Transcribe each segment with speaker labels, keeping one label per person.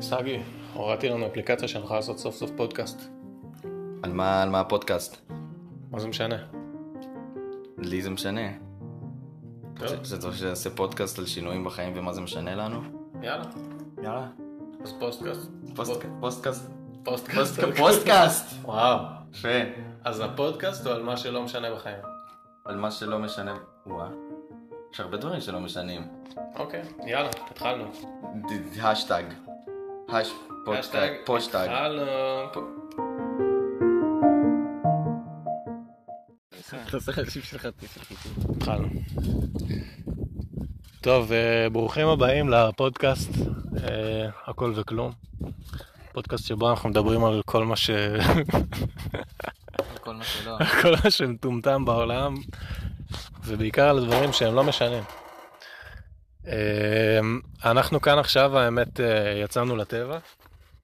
Speaker 1: סגי, הורדתי לנו אפליקציה שהלכה לעשות סוף סוף פודקאסט.
Speaker 2: על מה, על מה הפודקאסט?
Speaker 1: מה זה משנה?
Speaker 2: לי זה משנה.
Speaker 1: טוב,
Speaker 2: שצריך שנעשה פודקאסט על שינויים בחיים ומה זה משנה לנו?
Speaker 1: יאללה,
Speaker 2: יאללה. אוקיי.
Speaker 1: אז פוסטקאסט.
Speaker 2: פוסטקאסט.
Speaker 1: פוסטקאסט.
Speaker 2: פוסטקאסט.
Speaker 1: וואו.
Speaker 2: אוקיי. יפה.
Speaker 1: אז הפודקאסט הוא על מה שלא משנה בחיים.
Speaker 2: על מה שלא משנה... וואה. יש הרבה דברים שלא משנים.
Speaker 1: אוקיי, יאללה, התחלנו.
Speaker 2: ד- השטג. הש... פודקאסט.
Speaker 1: האשטג,
Speaker 2: פושטג.
Speaker 1: התחלנו. התחלנו. טוב, אה, ברוכים הבאים לפודקאסט אה, הכל וכלום. פודקאסט שבו אנחנו מדברים על כל מה ש...
Speaker 2: כל מה שלא.
Speaker 1: כל מה שמטומטם בעולם, ובעיקר על דברים שהם לא משנים. אה, אנחנו כאן עכשיו, האמת, אה, יצאנו לטבע,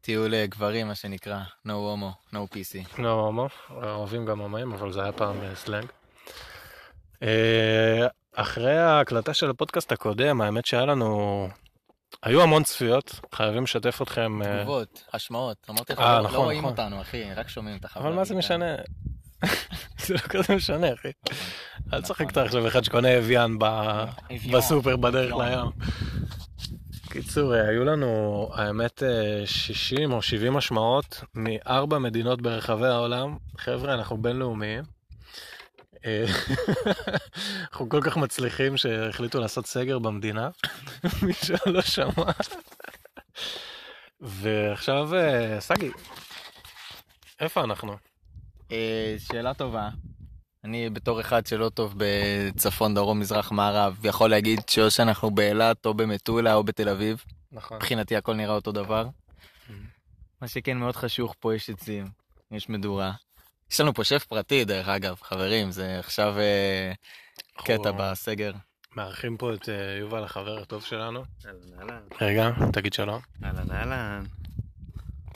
Speaker 3: טיול אה, גברים, מה שנקרא, no homo, no PC.
Speaker 1: לא הומו, אוהבים גם הומואים, אבל זה היה פעם אה, סלנג. אה, אחרי ההקלטה של הפודקאסט הקודם, האמת שהיה לנו... היו המון צפיות, חייבים לשתף אתכם. אה,
Speaker 3: תגובות, השמעות, אמרתי לך,
Speaker 1: אה,
Speaker 3: לא-
Speaker 1: נכון,
Speaker 3: לא רואים
Speaker 1: נכון.
Speaker 3: אותנו, אחי, רק שומעים את החבר.
Speaker 1: אבל מה זה משנה? זה לא כזה משנה, אחי. אל תשחק אותה עכשיו אחד שקונה אביאן ב-
Speaker 3: אביון,
Speaker 1: בסופר בדרך
Speaker 3: אביון.
Speaker 1: לים. קיצור, אה, היו לנו, האמת, אה, 60 או 70 השמעות מארבע מדינות ברחבי העולם. חבר'ה, אנחנו בינלאומיים. אה, אנחנו כל כך מצליחים שהחליטו לעשות סגר במדינה, מי שלא שמע. ועכשיו, אה, סגי, איפה אנחנו?
Speaker 3: אה, שאלה טובה. אני בתור אחד שלא טוב בצפון, דרום, מזרח, מערב, יכול להגיד שאו שאנחנו באילת, או במטולה, או בתל אביב.
Speaker 1: נכון.
Speaker 3: מבחינתי הכל נראה אותו דבר.
Speaker 1: Mm-hmm.
Speaker 3: מה שכן מאוד חשוך פה יש עצים, יש מדורה. יש לנו פה שף פרטי דרך אגב, חברים, זה עכשיו אה, קטע
Speaker 1: אנחנו
Speaker 3: בסגר.
Speaker 1: מארחים פה את אה, יובל החבר הטוב שלנו. רגע, תגיד שלום.
Speaker 4: אהלן אהלן.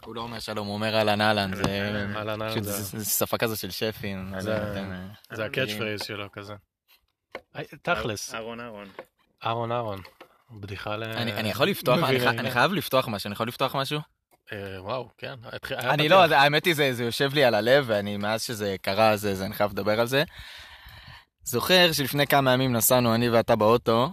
Speaker 3: הוא לא אומר שלום, הוא אומר אהלן אהלן, זה
Speaker 1: כן, אהלן, אהלן,
Speaker 3: פשוט
Speaker 1: זה-
Speaker 3: זה- זה שפה כזה של שפים. אז
Speaker 1: זה-
Speaker 3: אתם, אה,
Speaker 1: זה הקאץ' פרייז שלו כזה. היי, אה, תכלס,
Speaker 4: אה, אהרון אהרון.
Speaker 1: אהרון אהרון. בדיחה ל...
Speaker 3: אני אני יכול לפתוח, אני
Speaker 1: מבינים.
Speaker 3: חי- אני חייב לפתוח משהו, אני יכול לפתוח משהו?
Speaker 1: אה, וואו, כן. התח- היה
Speaker 3: אני
Speaker 1: פתיח.
Speaker 3: לא, האמת היא, זה זה יושב לי על הלב, ואני, מאז שזה קרה, זה, זה, אני חייב לדבר על זה. זוכר שלפני כמה ימים נסענו אני ואתה באוטו,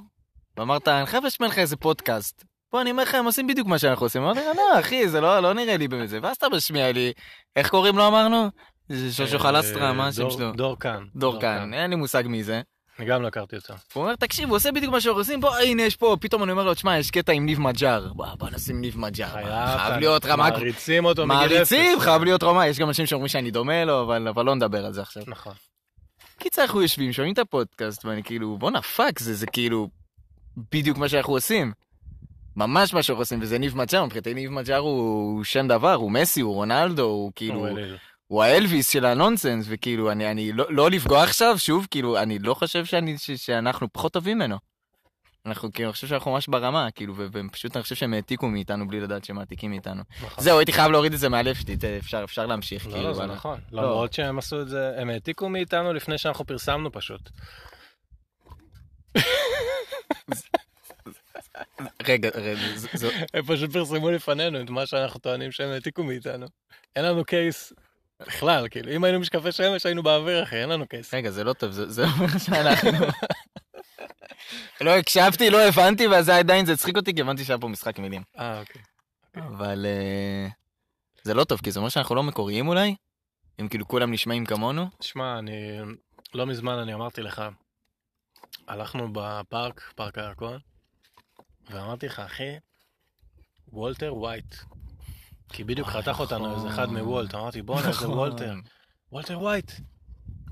Speaker 3: ואמרת, אני חייב להשמיע לך איזה פודקאסט. פה אני אומר לך, הם עושים בדיוק מה שאנחנו עושים. אמרתי, לא, אחי, זה לא, לא נראה לי בזה. ואז אתה משמיע לי, איך קוראים לו אמרנו? זה שושו
Speaker 1: אה,
Speaker 3: חלסטרה, מה השם
Speaker 1: דור-
Speaker 3: שלו?
Speaker 1: דור אה, כאן.
Speaker 3: דור כאן, אין לי מושג מי זה.
Speaker 1: אני גם לא הכרתי אותו.
Speaker 3: הוא אומר, תקשיב, הוא עושה בדיוק מה שאנחנו עושים, בוא, הנה, יש פה, פתאום אני אומר לו, תשמע, יש קטע עם ניב מג'אר. בוא, בוא נשים ניב מג'אר.
Speaker 1: כאן.
Speaker 3: חייב להיות רמה
Speaker 1: מעריצים אותו מגיל אפס.
Speaker 3: מעריצים, חייב להיות רמה, יש גם אנשים שאומרים שאני דומה לו, אבל, אבל לא נדבר על זה עכשיו.
Speaker 1: נכון.
Speaker 3: קיצר, אנחנו יושבים, שומעים את הפודקאסט, ואני כאילו, בואנה פאק, זה, זה כאילו בדיוק מה שאנחנו עושים. ממש מה שאנחנו עושים, וזה ניב מג'אר, מבחינתי ניב מג'אר הוא, הוא שם דבר, הוא מסי, הוא רונלדו, הוא כאילו,
Speaker 1: הוא אליל.
Speaker 3: הוא האלוויס של הנונסנס, וכאילו, אני, אני לא, לא לפגוע עכשיו, שוב, כאילו, אני לא חושב שאני, ש, שאנחנו פחות טובים ממנו. אנחנו, כאילו, אני חושב שאנחנו ממש ברמה, כאילו, ו- ופשוט אני חושב שהם העתיקו מאיתנו בלי לדעת שהם מעתיקים מאיתנו.
Speaker 1: נכון.
Speaker 3: זהו, הייתי חייב להוריד את זה מהלב שלי, תה, אפשר, אפשר להמשיך,
Speaker 1: לא,
Speaker 3: כאילו,
Speaker 1: לא, זה
Speaker 3: אבל-
Speaker 1: נכון.
Speaker 3: לא.
Speaker 1: למרות שהם עשו את זה, הם העתיקו מאיתנו לפני שאנחנו פרסמנו פשוט. נכון.
Speaker 3: רגע, רגע, ז- זו-
Speaker 1: הם פשוט פרסמו לפנינו את מה שאנחנו טוענים שהם העתיקו מאיתנו. אין לנו קייס בכלל, כאילו, אם היינו משקפי שמש היינו באוויר אחי, אין לנו קייס.
Speaker 3: רגע, זה לא טוב, זה זה אומר שאנחנו... לא הקשבתי, לא הבנתי, ואז זה עדיין, זה הצחיק אותי, כי הבנתי שהיה פה משחק מילים.
Speaker 1: אה, אוקיי.
Speaker 3: אבל אה, זה לא טוב, כי זה אומר שאנחנו לא מקוריים אולי? אם כאילו כולם נשמעים כמונו?
Speaker 1: שמע, אני... לא מזמן אני אמרתי לך, הלכנו בפארק, פארק הירקון, ואמרתי לך, אחי, וולטר ווייט. כי בדיוק
Speaker 3: וואי,
Speaker 1: חתך אותנו איזה אחד
Speaker 3: אה, נכון.
Speaker 1: מוולט, אמרתי, בואנה, איזה וולטר. וולטר ווייט.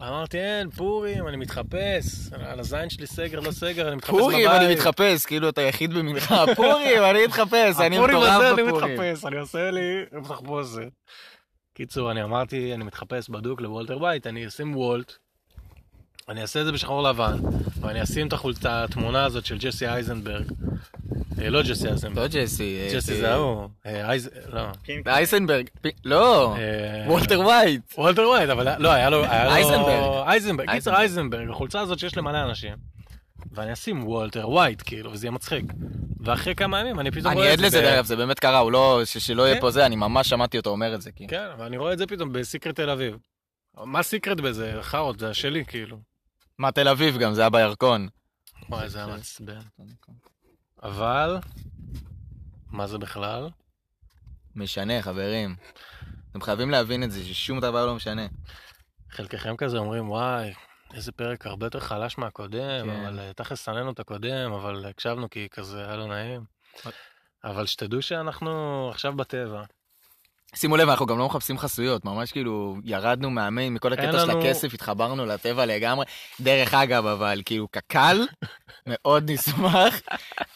Speaker 1: אמרתי, אין, פורים, אני מתחפש, על הזין שלי סגר, לא סגר, אני מתחפש בבית.
Speaker 3: פורים, אני מתחפש, כאילו אתה יחיד במנחה, פורים, אני מתחפש, אני
Speaker 1: הפורים הזה,
Speaker 3: מטורף
Speaker 1: אני
Speaker 3: בפורים.
Speaker 1: מתחפש, אני עושה לי תחפושת. קיצור, אני אמרתי, אני מתחפש בדוק לוולטר ווייט, אני אשים וולט, אני אעשה את זה בשחור לבן, ואני אשים את החולצה, התמונה הזאת של ג'סי אייזנברג. אה, לא ג'סי
Speaker 3: לא
Speaker 1: אייזנברג,
Speaker 3: ג'סי. אה,
Speaker 1: ג'סי
Speaker 3: אה,
Speaker 1: זה ההוא. אה, אייז... לא.
Speaker 5: אה,
Speaker 3: אייזנברג. פי- לא,
Speaker 1: אה,
Speaker 3: וולטר ווייט.
Speaker 1: וולטר ווייט, אבל לא, היה לו... היה לו-
Speaker 3: אייזנברג.
Speaker 1: אייזנברג. קיצר,
Speaker 3: אייזנברג.
Speaker 1: אייזנברג, החולצה הזאת שיש למלא אנשים. ואני אשים וולטר ווייט, כאילו, וזה יהיה מצחיק. ואחרי כמה ימים אני פתאום
Speaker 5: אני
Speaker 1: רואה לא את
Speaker 5: עד
Speaker 1: זה.
Speaker 5: לזה,
Speaker 1: ב-
Speaker 5: דרך אגב, זה באמת קרה, הוא לא, ש- שלא יהיה
Speaker 1: כן.
Speaker 5: פה זה, אני ממש שמעתי אותו אומר את זה, כאילו.
Speaker 1: כן, ואני רואה את זה פתאום בסיקרט תל אביב. מה סיקרט בזה? חארות, זה השלי, כאילו.
Speaker 5: מה, תל אביב גם, זה היה בירקון.
Speaker 1: וואי,
Speaker 5: כן.
Speaker 1: זה היה מעצבן. אבל, מה זה בכלל?
Speaker 5: משנה, חברים. אתם חייבים להבין את זה, ששום דבר לא משנה.
Speaker 1: חלקכם כזה אומרים, וואי, איזה פרק הרבה יותר חלש מהקודם,
Speaker 5: כן.
Speaker 1: אבל אה, תכלס סננו את הקודם, אבל הקשבנו כי כזה היה לא נעים.
Speaker 5: אה.
Speaker 1: אבל שתדעו שאנחנו עכשיו בטבע.
Speaker 5: שימו לב, אנחנו גם לא מחפשים חסויות, ממש כאילו ירדנו מהמיין, מכל
Speaker 1: אין
Speaker 5: הקטע של
Speaker 1: לנו-
Speaker 5: הכסף, התחברנו לטבע לגמרי. דרך אגב, אבל כאילו קק"ל, מאוד נשמח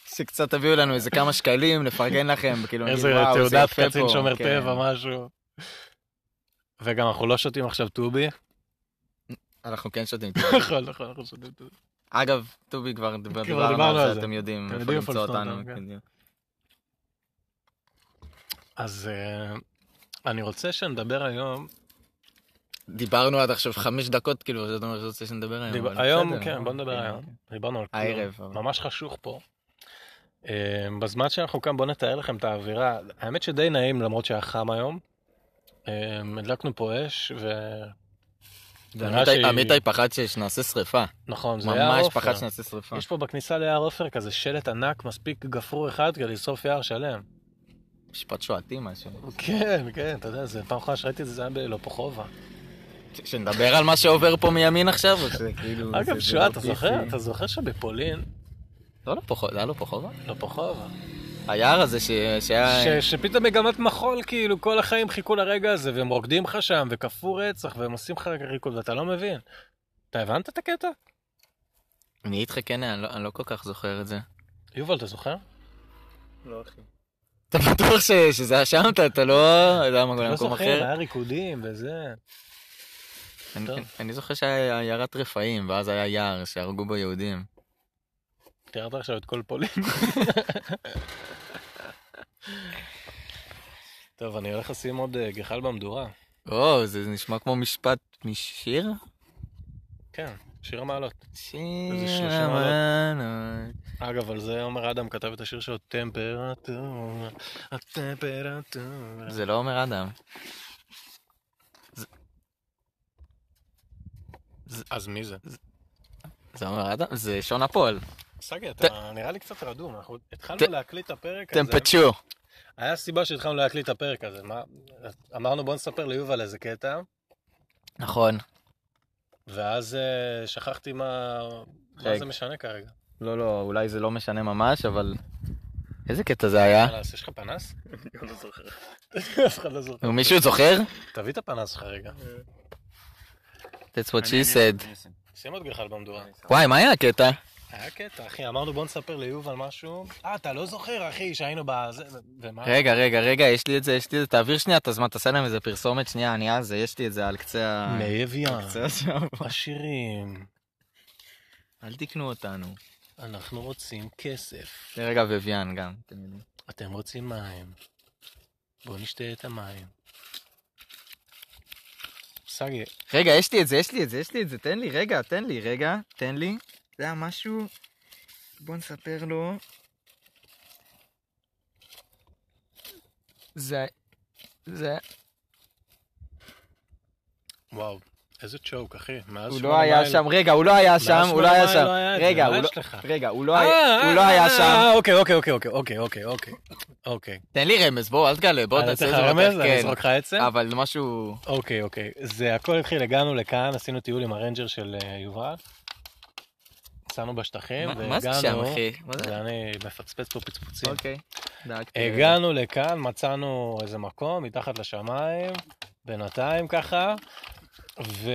Speaker 5: שקצת תביאו לנו איזה כמה שקלים, לפרגן לכם, כאילו, נגיד,
Speaker 1: איזה
Speaker 5: "וואו, זה
Speaker 1: תעודת
Speaker 5: יפה
Speaker 1: קצין
Speaker 5: פה",
Speaker 1: שומר
Speaker 5: כן.
Speaker 1: טבע, משהו. וגם אנחנו לא שותים עכשיו טובי.
Speaker 5: אנחנו כן שותים.
Speaker 1: נכון, נכון, אנחנו שותים טובי.
Speaker 5: אגב, טובי כבר דיבר-
Speaker 1: כבר
Speaker 5: דיברנו
Speaker 1: דיברנו
Speaker 5: על
Speaker 1: על
Speaker 5: זה,
Speaker 1: זה.
Speaker 5: אתם יודעים
Speaker 1: אתם
Speaker 5: איפה
Speaker 1: יודעים איפה
Speaker 5: למצוא
Speaker 1: למצוא
Speaker 5: אותנו.
Speaker 1: אותנו, כן.
Speaker 5: בדיוק.
Speaker 1: אז אה, אני רוצה שנדבר היום,
Speaker 5: כן. דיברנו עד עכשיו חמש דקות, כאילו, אז אתה אומר שרוצה שנדבר היום.
Speaker 1: דיבר-
Speaker 5: אבל
Speaker 1: היום,
Speaker 5: בסדר,
Speaker 1: כן, בוא
Speaker 5: אוקיי,
Speaker 1: נדבר היום.
Speaker 5: אוקיי.
Speaker 1: דיברנו על כלום.
Speaker 5: הערב. אבל-
Speaker 1: ממש חשוך פה. אה, בזמן שאנחנו כאן בואו נתאר לכם את האווירה. האמת שדי נעים למרות שהיה חם היום. אה, הדלקנו פה אש ונראה
Speaker 5: עמיתי- עמיתי פחד שנעשה שריפה.
Speaker 1: נכון, זה היה
Speaker 5: ממש
Speaker 1: עופר.
Speaker 5: פחד שנעשה שריפה.
Speaker 1: יש פה בכניסה ליער עופר כזה שלט ענק מספיק גפרור אחד כדי לשרוף יער שלם.
Speaker 5: משפט שועתי משהו.
Speaker 1: כן, כן, אתה יודע, זה פעם אחרונה שראיתי את זה, זה היה בלופוחובה.
Speaker 5: ש- שנדבר על מה שעובר פה מימין עכשיו, או שכאילו... זה-
Speaker 1: אגב,
Speaker 5: זה
Speaker 1: שואה,
Speaker 5: לא
Speaker 1: אתה
Speaker 5: פיסי?
Speaker 1: זוכר? אתה זוכר שבפולין,
Speaker 5: לא, לא פחות, זה היה לא פחות.
Speaker 1: לופוחובה,
Speaker 5: היער הזה ש- שהיה...
Speaker 1: ש- שפתאום מגמת מחול, כאילו, כל החיים חיכו לרגע הזה, והם רוקדים לך שם, וכפו רצח, והם עושים לך ריקוד, ואתה לא מבין. אתה הבנת את הקטע?
Speaker 5: אני איתך כן, אני לא- אני לא כל כך זוכר את זה.
Speaker 1: יובל, אתה זוכר?
Speaker 4: לא,
Speaker 5: אתה בטוח ש- שזה היה שם? אתה- אתה לא... אתה יודע מה,
Speaker 1: לא
Speaker 5: במקום
Speaker 1: זוכר,
Speaker 5: אחר?
Speaker 1: היה ריקודים וזה.
Speaker 5: אני-
Speaker 1: טוב.
Speaker 5: אני זוכר שהיה עיירת רפאים, ואז היה יער שהרגו בו יהודים.
Speaker 1: תיארת עכשיו את כל פולין. טוב, אני הולך לשים עוד אה, גחל במדורה.
Speaker 5: או, זה זה נשמע כמו משפט משיר?
Speaker 1: כן, שיר המעלות. איזה
Speaker 5: שיר
Speaker 1: שלושים מעלות.
Speaker 5: המנות.
Speaker 1: אגב, על זה עומר אדם כתב את השיר שלו, טמפרטורה, הטמפרטורה.
Speaker 5: זה לא אומר אדם.
Speaker 1: אז מי זה?
Speaker 5: זה אומר אדם? זה שון הפועל.
Speaker 1: סגי, אתה נראה לי קצת רדום, אנחנו התחלנו
Speaker 5: ת-
Speaker 1: להקליט את הפרק הזה.
Speaker 5: טמפצ'ו.
Speaker 1: היה סיבה שהתחלנו להקליט את הפרק הזה, מה? אמרנו בוא נספר ליובל איזה קטע,
Speaker 5: נכון.
Speaker 1: ואז אה, שכחתי מה מה
Speaker 5: רגע.
Speaker 1: זה משנה כרגע.
Speaker 5: לא, לא, אולי זה לא משנה ממש, אבל... איזה קטע זה היה?
Speaker 1: חלאס, יש לך פנס? אני לא זוכר. אה? אף אחד לא זוכר.
Speaker 5: נו, מישהו זוכר?
Speaker 1: תביא את הפנס שלך רגע.
Speaker 5: That's what she said.
Speaker 1: שים עוד גחל במדורה.
Speaker 5: וואי, מה היה הקטע?
Speaker 1: היה קטע, אחי, אמרנו בוא נספר ליובל משהו. אה, אתה לא זוכר, אחי, שהיינו בזה, ומה?
Speaker 5: רגע, רגע, רגע, יש לי את זה, יש לי את זה. תעביר שנייה את הזמן, תעשה להם איזה פרסומת שנייה, אני על זה, יש לי את זה על קצה ה...
Speaker 1: מי אביאן,
Speaker 5: קצה השם.
Speaker 1: עשירים,
Speaker 5: אל תקנו אותנו.
Speaker 1: אנחנו רוצים כסף.
Speaker 5: דרך אגב, אביאן גם. אתם יודעים.
Speaker 1: אתם רוצים מים. בואו נשתה את המים. סגי,
Speaker 5: רגע, יש לי את זה, יש לי את זה, יש לי את זה, תן לי, רגע, תן לי, רגע, תן לי. זה היה משהו, בוא נספר לו. זה... זה...
Speaker 1: וואו, איזה צ'וק, אחי. מאז
Speaker 5: הוא
Speaker 1: שמונה
Speaker 5: לא היה
Speaker 1: מייל-
Speaker 5: שם, רגע, הוא לא היה שם, הוא לא
Speaker 1: שמונה
Speaker 5: היה
Speaker 1: מייל
Speaker 5: שם.
Speaker 1: לא היה את זה,
Speaker 5: רגע,
Speaker 1: מה
Speaker 5: הוא לא-
Speaker 1: יש לך?
Speaker 5: רגע, הוא לא
Speaker 1: אה,
Speaker 5: היה-
Speaker 1: אה,
Speaker 5: הוא לא היה
Speaker 1: אה,
Speaker 5: שם.
Speaker 1: אה, אוקיי, אוקיי, אוקיי, אוקיי, אוקיי, אוקיי, אוקיי, אוקיי.
Speaker 5: תן לי רמז, בוא, אל תגלה, בוא,
Speaker 1: אני
Speaker 5: תעשה
Speaker 1: אתן
Speaker 5: את
Speaker 1: לך
Speaker 5: זה.
Speaker 1: רמז,
Speaker 5: יותר,
Speaker 1: אני
Speaker 5: כן.
Speaker 1: אזרוק לך עצם.
Speaker 5: אבל משהו...
Speaker 1: אוקיי, אוקיי. זה הכל התחיל, הגענו לכאן, עשינו טיול עם הרנג'ר של אה, יובל. יצאנו בשטחים,
Speaker 5: מה-
Speaker 1: והגענו...
Speaker 5: מה זה שם,
Speaker 1: לא-
Speaker 5: אחי? מה זה?
Speaker 1: ואני מפצפץ פה פצפוצים.
Speaker 5: אוקיי. דאגתי.
Speaker 1: הגענו לכאן, מצאנו איזה מקום מתחת לשמיים, בינתיים ככה, ו...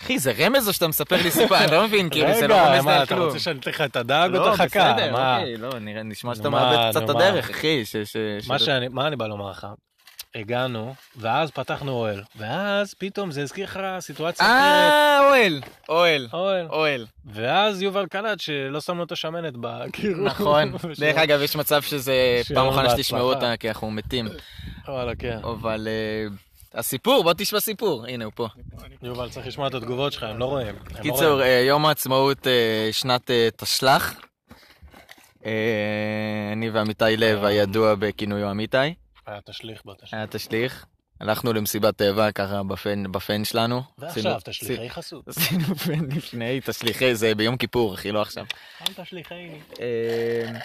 Speaker 5: אחי, זה רמז או שאתה מספר לי סיפור? אני לא מבין, כאילו, זה לא
Speaker 1: רגע,
Speaker 5: רמז
Speaker 1: מה,
Speaker 5: על
Speaker 1: אתה
Speaker 5: כלום.
Speaker 1: רוצה שאני אתן לך את הדג או
Speaker 5: לא,
Speaker 1: את החכה?
Speaker 5: בסדר,
Speaker 1: מה-
Speaker 5: אוקיי, לא, נראה- נשמע
Speaker 1: נו,
Speaker 5: שאתה
Speaker 1: מה,
Speaker 5: מאבד קצת
Speaker 1: נו,
Speaker 5: את
Speaker 1: מה.
Speaker 5: הדרך, אחי. ש- ש-
Speaker 1: מה
Speaker 5: ש-
Speaker 1: שאני- מה אני בא לומר לך? הגענו, ואז פתחנו אוהל, ואז פתאום זה הזכיר לך סיטואציה אחרת.
Speaker 5: אה, אוהל, אוהל,
Speaker 1: אוהל.
Speaker 5: אוהל.
Speaker 1: ואז יובל קלט שלא שמנו את השמנת כאילו. בקירור.
Speaker 5: נכון. דרך אגב, יש מצב שזה
Speaker 1: שיהיה
Speaker 5: פעם
Speaker 1: לנו
Speaker 5: אחרונה
Speaker 1: בהצלחה.
Speaker 5: שתשמעו אותה, כי אנחנו מתים.
Speaker 1: וואלה, כן.
Speaker 5: אבל אה, הסיפור, בוא תשמע סיפור. הנה, הוא פה.
Speaker 1: יובל, צריך לשמוע את התגובות שלך, הם לא רואים. הם לא
Speaker 5: קיצור,
Speaker 1: רואים.
Speaker 5: אה, יום העצמאות אה, שנת אה, תשל"ח. אה, אני ועמיתי לב, הידוע בכינויו עמיתי,
Speaker 1: אה, תשליך בוא, תשליך.
Speaker 5: היה תשליך. הלכנו למסיבת טבע ככה בפן, בפן שלנו.
Speaker 1: ועכשיו,
Speaker 5: עשינו-
Speaker 1: תשליכי חסות.
Speaker 5: עשינו פן לפני, תשליכי, זה ביום כיפור, אחי, לא עכשיו.
Speaker 1: אל תשליכי.
Speaker 5: אה,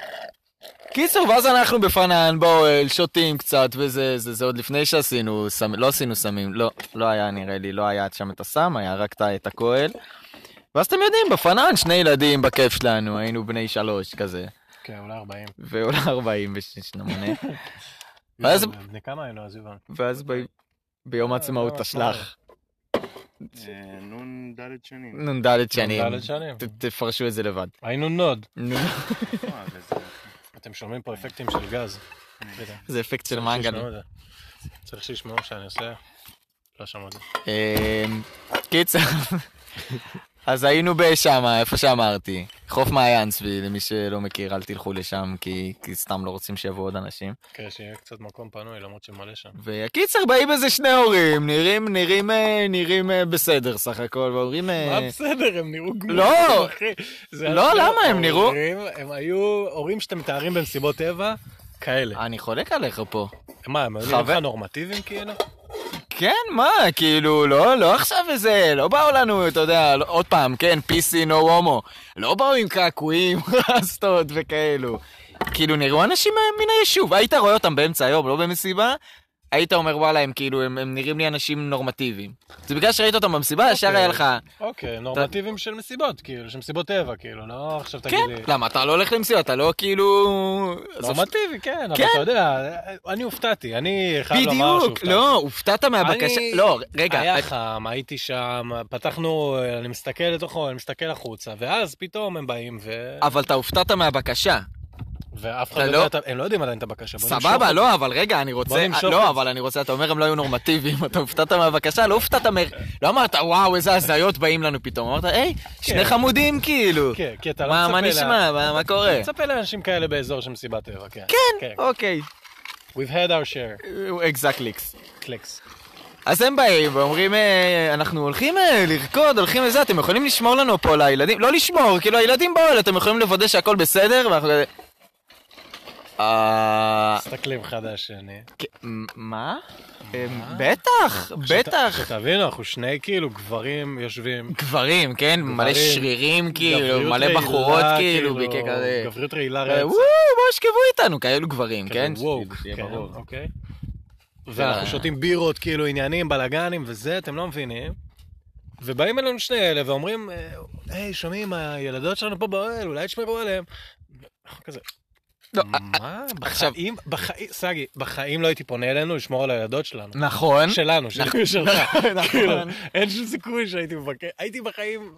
Speaker 5: קיצור, ואז אנחנו בפנן, באוהל, שותים קצת וזה, זה, זה עוד לפני שעשינו, סמ... לא עשינו סמים, לא, לא היה נראה לי, לא היה שם את הסם, היה רק את ה- את הכהל. ואז אתם יודעים, בפנן שני ילדים בכיף שלנו, היינו בני שלוש כזה,
Speaker 1: כן, אולי 40.
Speaker 5: ואולי ארבעים ושמונה, ואז-
Speaker 1: יובל, אה, בני כמה היינו אז, יובל?
Speaker 5: ואז ב... ביום העצמאות תשלח,
Speaker 4: אה, נון ד' שנים.
Speaker 5: נ"ד שנים,
Speaker 1: נ"ד שנים.
Speaker 5: ת- תפרשו את זה לבד.
Speaker 1: היינו נוד.
Speaker 5: נו,
Speaker 4: אה, וזה-
Speaker 1: אתם שומעים פה אפקטים של גז.
Speaker 5: זה אפקט של
Speaker 1: צריך
Speaker 5: מנגל.
Speaker 1: שישמעו את זה. צריך שישמעו שאני עושה... לא שמעו את זה.
Speaker 5: אמ, קיצר, אז היינו בשם, איפה שאמרתי, חוף מעיין צבי, למי שלא מכיר, אל תלכו לשם, כי, כי סתם לא רוצים שיבואו עוד אנשים.
Speaker 1: כן, שיהיה קצת מקום פנוי, למרות שמלא שם.
Speaker 5: וקיצר, באים איזה שני הורים, נראים, נראים, אה, נראים אה, בסדר סך הכל, ואומרים... אה,
Speaker 1: מה בסדר, הם נראו גמורים,
Speaker 5: לא.
Speaker 1: אחי. זה
Speaker 5: לא,
Speaker 1: אשכרה
Speaker 5: למה הם נראו-
Speaker 1: הורים, הם היו הורים שאתם מתארים במסיבות טבע, כאלה.
Speaker 5: אני חולק עליך פה.
Speaker 1: מה, הם היו נראים
Speaker 5: אה, חבר-
Speaker 1: לך נורמטיביים כאילו?
Speaker 5: כן, מה, כאילו, לא, לא עכשיו איזה, לא באו לנו, אתה יודע, לא- עוד פעם, כן, PC, no homo. לא באו עם קעקועים, רסטות וכאילו. כאילו, נראו אנשים מה- מן היישוב. היית רואה אותם באמצע היום, לא במסיבה, היית אומר, וואלה, הם כאילו, הם, הם נראים לי אנשים נורמטיביים. זה בגלל שראית אותם במסיבה, ישר
Speaker 1: אוקיי.
Speaker 5: היה לך...
Speaker 1: אוקיי, נורמטיביים של מסיבות, כאילו, של מסיבות טבע, כאילו, לא עכשיו תגיד
Speaker 5: כן,
Speaker 1: לי...
Speaker 5: למה, אתה לא הולך למסיבה, אתה לא כאילו... עזוב,
Speaker 1: נורמטיבי, כן, אבל
Speaker 5: כן.
Speaker 1: אתה יודע, אני הופתעתי, אני חייב לומר
Speaker 5: בדיוק,
Speaker 1: שהופתעתי.
Speaker 5: לא, הופתעת מהבקשה...
Speaker 1: אני-
Speaker 5: לא, רגע,
Speaker 1: היה חם, הייתי שם, פתחנו, אני מסתכל לתוכו, אני מסתכל החוצה, ואז פתאום הם באים, ו...
Speaker 5: אבל אתה הופתעת מהבקשה.
Speaker 1: ואף אחד
Speaker 5: אתה
Speaker 1: לא יודע,
Speaker 5: לא-
Speaker 1: את ה- הם לא יודעים עדיין את הבקשה. בוא נמשוך
Speaker 5: סבבה,
Speaker 1: את
Speaker 5: לא, אבל רגע, אני
Speaker 1: בוא
Speaker 5: רוצה...
Speaker 1: נמשוך את זה.
Speaker 5: לא, אבל אני רוצה, אתה אומר הם לא היו נורמטיביים, אתה הופתעת מהבקשה, לא הופתעת מ... לא אמרת, וואו, איזה הזיות באים לנו פתאום. אמרת, היי, שני
Speaker 1: כן.
Speaker 5: חמודים כאילו.
Speaker 1: כן, כי אתה לא
Speaker 5: מה
Speaker 1: מצפה
Speaker 5: מה
Speaker 1: לה-
Speaker 5: נשמע? מה- מה קורה?
Speaker 1: אתה מצפה לאנשים כאלה באזור של מסיבת טבע, כן.
Speaker 5: כן, אוקיי.
Speaker 1: We've had our share.
Speaker 5: אקזקליקס.
Speaker 1: קליקס.
Speaker 5: אה. אז הם באים ואומרים, "אה, אנחנו הולכים אה, לרקוד, הולכים לזה, אתם יכולים לשמור לנו פה לילדים, לא לשמור, כאילו הילדים באוהל, אתם יכולים לוודא שהכל בסדר, ואנחנו... כזה, "אה,
Speaker 1: מסתכלים אחד על השני.
Speaker 5: כ- מ- מה? אה, בטח, בטח.
Speaker 1: שתבינו, אנחנו שני כאילו גברים יושבים.
Speaker 5: גברים, כן? מלא שרירים, כאילו,
Speaker 1: גבריות
Speaker 5: מלא
Speaker 1: רעילה,
Speaker 5: בחורות, כאילו, בעיקר כזה.
Speaker 1: גבריות רעילה
Speaker 5: אה,
Speaker 1: רצח.
Speaker 5: וואו, בואו שכבו איתנו, כאלו גברים,
Speaker 1: כזה
Speaker 5: כן?
Speaker 1: ווק,
Speaker 5: שיהיה
Speaker 1: כן,
Speaker 5: ברור.
Speaker 1: אוקיי. ואנחנו
Speaker 5: אה.
Speaker 1: שותים בירות, כאילו, עניינים, בלאגנים וזה, אתם לא מבינים. ובאים אלינו שני אלה ואומרים, אה, היי, שומעים, הילדות שלנו פה באוהל, אולי תשמרו עליהם. אנחנו כזה,
Speaker 5: לא,
Speaker 1: מה?
Speaker 5: עכשיו-
Speaker 1: בחיים, בחיים, סגי, בחיים לא הייתי פונה אלינו לשמור על הילדות שלנו.
Speaker 5: נכון.
Speaker 1: שלנו, שלי שלך.
Speaker 5: נכון.
Speaker 1: כאילו, אין שום סיכוי שהייתי מבקר, הייתי בחיים,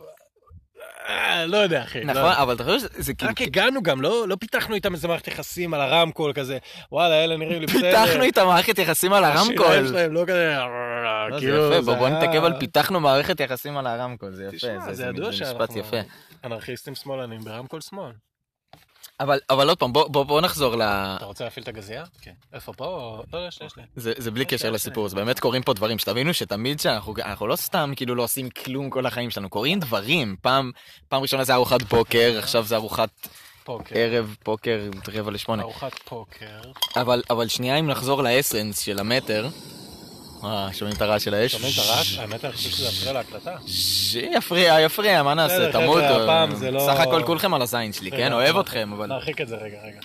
Speaker 1: אה, לא יודע, אחי. לא
Speaker 5: נכון,
Speaker 1: יודע.
Speaker 5: אבל אתה חושב שזה כאילו...
Speaker 1: רק הגענו גם, לא לא פיתחנו איתם איזה מערכת יחסים על הרמקול כזה, וואלה, אלה נראים לי בסדר.
Speaker 5: פיתחנו איתם מערכת יחסים על
Speaker 1: השיניים
Speaker 5: הרמקול.
Speaker 1: שלהם לא כזה,
Speaker 5: אה, לא, זה
Speaker 1: כאילו,
Speaker 5: יפה, בוא
Speaker 1: זה
Speaker 5: בוא
Speaker 1: היה-
Speaker 5: נתעכב על פיתחנו מערכת יחסים על הרמקול, זה יפה,
Speaker 1: תשמע,
Speaker 5: זה-
Speaker 1: זה
Speaker 5: זה
Speaker 1: ידוע
Speaker 5: זה משפט
Speaker 1: שאנחנו-
Speaker 5: יפה.
Speaker 1: אנרכיסטים שמאלנים ברמקול שמאל.
Speaker 5: אבל אבל עוד פעם, בוא- בוא בוא נחזור ל...
Speaker 1: אתה רוצה להפעיל את הגזייה? כן. איפה פה? או- לא, לא, יש לי, יש לי.
Speaker 5: זה, זה בלי
Speaker 1: אוקיי.
Speaker 5: קשר לסיפור, זה באמת קורים פה דברים, שתבינו שתמיד שאנחנו אנחנו לא סתם כאילו לא עושים כלום כל החיים שלנו, קורים דברים. פעם, פעם ראשונה זה ארוחת בוקר, עכשיו זה ארוחת
Speaker 1: פוקר.
Speaker 5: ערב בוקר, רבע לשמונה.
Speaker 1: כן. ארוחת פוקר.
Speaker 5: אבל, אבל שנייה אם נחזור לאסנס של המטר, אה, שומעים את הרעש של האש?
Speaker 1: שומעים את הרעש? האמת, אני חושב שזה מפריע להקלטה.
Speaker 5: ש- יפריע, יפריע, מה נעשה,
Speaker 1: בסדר, חבר'ה,
Speaker 5: תמותו.
Speaker 1: הפעם זה לא- אה,
Speaker 5: סך הכל כולכם על הזין שלי, כן?
Speaker 1: רגע,
Speaker 5: אוהב
Speaker 1: נרחיק-
Speaker 5: אתכם, אבל...
Speaker 1: נרחיק את זה רגע, רגע.